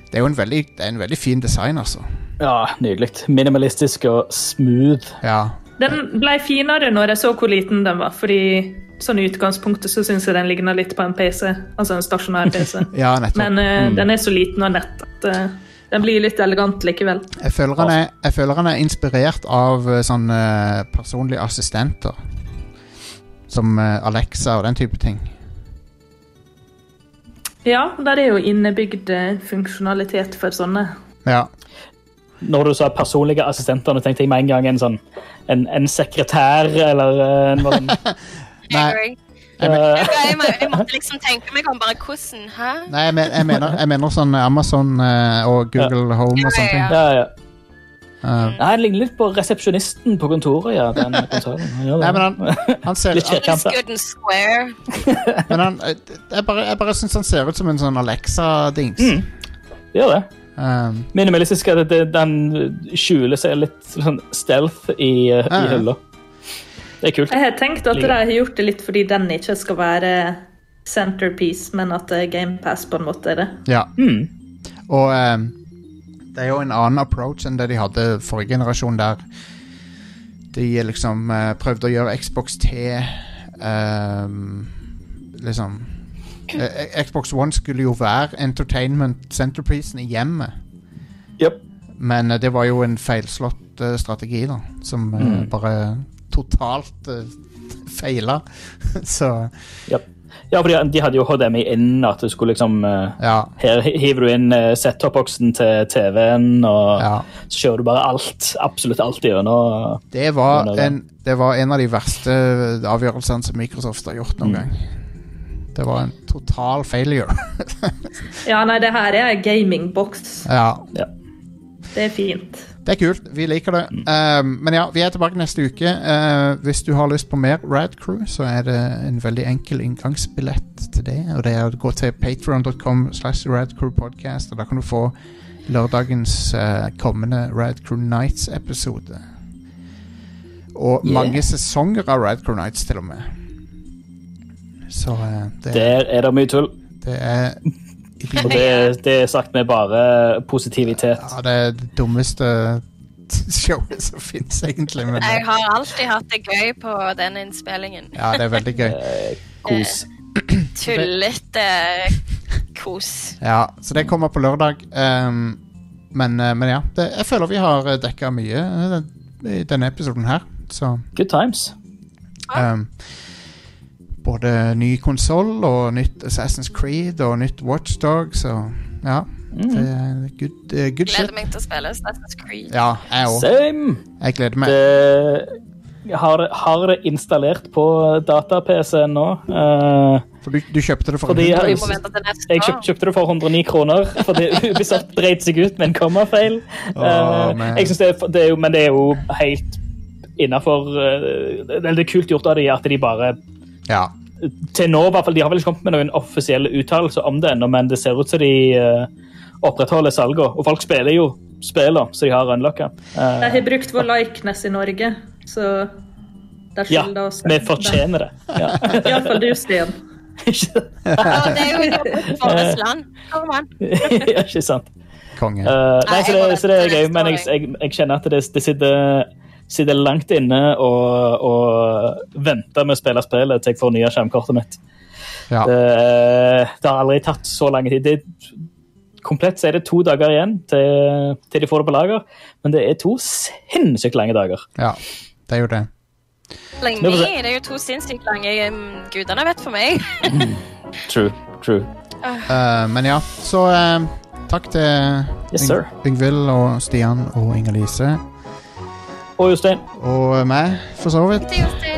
Speaker 1: Det er jo en veldig, det er en veldig fin design, altså.
Speaker 4: Ja, nydelig. Minimalistisk og smooth.
Speaker 1: Ja.
Speaker 5: Den ble finere når jeg så hvor liten den var, fordi sånn i utgangspunktet så syns jeg den ligner litt på en PC, altså en stasjonær PC.
Speaker 1: Ja, Mm. nettopp.
Speaker 5: Men eh, den er så liten og nett at eh, den blir litt elegant likevel.
Speaker 1: jeg, føler han er, jeg føler han er inspirert av eh, sånne eh, personlige assistenter. Som eh, Alexa og den type ting.
Speaker 5: Ja, der er jo innebygd eh, funksjonalitet for sånne.
Speaker 1: Ja.
Speaker 4: Når du sa personlige assistenter, nå tenkte jeg med en gang en sånn en, en sekretær eller eh, noe sånt.
Speaker 1: Nei.
Speaker 6: Jeg,
Speaker 4: Eh,
Speaker 6: jeg, må- jeg måtte liksom tenke meg om bare hvordan. Hæ?
Speaker 1: Nei, jeg, men, jeg, mener, jeg mener sånn Amazon eh, og Google Home og sånne ting.
Speaker 4: ja, ja.
Speaker 1: Eh,
Speaker 4: Nei, Den ligner litt på resepsjonisten på kontoret. ja, den konsolen. Den gjør
Speaker 1: Nei,
Speaker 4: det.
Speaker 1: men han, han ser
Speaker 4: Litt kjekk.
Speaker 6: It's good and square.
Speaker 1: men han, eh, Jeg bare, jeg bare syns han ser ut som en sånn Alexa-dings.
Speaker 4: Mm. Gjør det.
Speaker 1: Um,
Speaker 4: Minimalistisk er det, det- den skjuler seg litt sånn stealth i,
Speaker 1: Ja,
Speaker 4: eh,
Speaker 1: ja.
Speaker 4: i hylla. Det er kult.
Speaker 5: Jeg har tenkt at de
Speaker 4: Ligger.
Speaker 5: har gjort det litt fordi den ikke skal være centerpiece, men at eh, Game GamePass på en måte er det.
Speaker 1: ja.
Speaker 4: Mm.
Speaker 1: Og um, det er jo en annen approach enn det de hadde forrige generasjon, der de liksom eh, prøvde å gjøre Xbox T um, Liksom eh, Xbox One skulle jo være entertainment centerpiecen i hjemmet.
Speaker 4: Jep.
Speaker 1: Men eh, det var jo en feilslått eh, strategi, da. Som eh,
Speaker 4: Mm.
Speaker 1: bare totalt uh, feila. Så
Speaker 4: Ja, for de, de hadde jo HDMI inn, at du skulle liksom eh,
Speaker 1: ja.
Speaker 4: Her hi- hiver du inn eh, set-top-boksen til TV-en, og
Speaker 1: ja.
Speaker 4: så kjører du bare alt, absolutt alt gjennom.
Speaker 1: Det, var
Speaker 4: Ja, det er det.
Speaker 1: en, det var en av de verste eh, avgjørelsene som Microsoft har gjort noen
Speaker 4: Mm.
Speaker 1: gang. Det var en total failure.
Speaker 5: Ja, nei, det her er gamingbox.
Speaker 1: ja.
Speaker 5: Det er fint.
Speaker 1: Det er kult. Vi liker det. Um, men ja, vi er tilbake neste uke. Uh, hvis du har lyst på mer Rad Crew, så er det en veldig enkel inngangsbillett til det. Og det er å gå til patreon.com slash radcrewpodcast, og da kan du få lørdagens eh, kommende Rad Crew Nights-episode. Og
Speaker 4: Yeah.
Speaker 1: mange sesonger av Rad Crew Nights, til og med. Så eh, det,
Speaker 4: Der er det mye tull.
Speaker 1: det er
Speaker 4: Og det, det er sagt med bare positivitet.
Speaker 1: Ja, det er det dummeste showet som fins, egentlig. Men, eh,
Speaker 6: Jeg har alltid hatt det gøy på den innspillingen. Eh,
Speaker 1: Ja, det er veldig gøy.
Speaker 4: Eh, Kos.
Speaker 6: Tullete eh, kos.
Speaker 1: Ja, så det kommer på lørdag. Ehm, men, eh, men ja, det, jeg føler vi har dekka mye eh, den- i denne episoden her. Så
Speaker 4: Good times.
Speaker 1: ehm, Både ny konsoll og nytt Assassin's Creed og nytt Watchdog, så ja. Det
Speaker 4: Mm.
Speaker 1: er good, eh, good shit.
Speaker 6: Gleder meg til å spille Assassin's Creed.
Speaker 1: Ja, jeg òg.
Speaker 4: Same!
Speaker 1: Jeg gleder meg.
Speaker 4: Det, jeg har, har det installert på data-PC-en nå. Eh,
Speaker 1: For du, du kjøpte det for
Speaker 4: Fordi
Speaker 1: en
Speaker 4: jeg-
Speaker 6: Vi
Speaker 1: hundre?
Speaker 6: må vente til neste
Speaker 4: Jeg kjøp,
Speaker 6: år.
Speaker 4: kjøpte det for 109 kroner, fordi Ubisoft dreit seg ut med en kommafeil.
Speaker 1: Åh,
Speaker 4: Eh,
Speaker 1: man.
Speaker 4: jeg synes det, er- det er jo, men det er jo helt innafor eh, Det er kult gjort av de at de bare
Speaker 1: Ja.
Speaker 4: Til nå, i hvert fall, de har vel ikke kommet med noen offisielle uttalelser om det ennå, men det ser ut som de eh, opprettholder salget. Og folk spiller jo spiller, så de har Eh, unlocka.
Speaker 5: De har brukt vår likeness i Norge, så der
Speaker 4: ja,
Speaker 5: skylder oss
Speaker 4: vi fortjener det. Ja.
Speaker 5: Iallfall du, Stian.
Speaker 4: Ikke-
Speaker 6: Ja, det er jo vårt land. Kom an.
Speaker 4: ikke sant?
Speaker 1: Konge.
Speaker 4: Eh, nei,
Speaker 6: Nei,
Speaker 4: så
Speaker 6: jeg må
Speaker 4: det,
Speaker 6: vente
Speaker 4: så det er
Speaker 6: til
Speaker 4: gøy,
Speaker 6: neste
Speaker 4: men
Speaker 6: år,
Speaker 4: jeg, jeg, jeg kjenner at det, det sitter, sitter langt inne og, og venter med å spille spillet til jeg får nye skjermkortet mitt.
Speaker 1: ja.
Speaker 4: Det, eh, det har aldri tatt så lang tid. Det, komplett så er det to dager igjen til, til de får det på lager, men det er to sinnssykt lange dager.
Speaker 1: ja. Det er jo det.
Speaker 6: Lenge,
Speaker 4: Nå får vi se.
Speaker 6: det er jo to sinnssykt lange um, gudene vet for meg.
Speaker 4: True, true.
Speaker 1: Eh, men ja, så eh, takk til
Speaker 4: Yes,
Speaker 1: Yng-
Speaker 4: sir.
Speaker 1: Yngvild og Stian og Inger-Lise
Speaker 4: Og Jostein,
Speaker 1: og eh, meg, for så vidt.
Speaker 6: Det er jo det.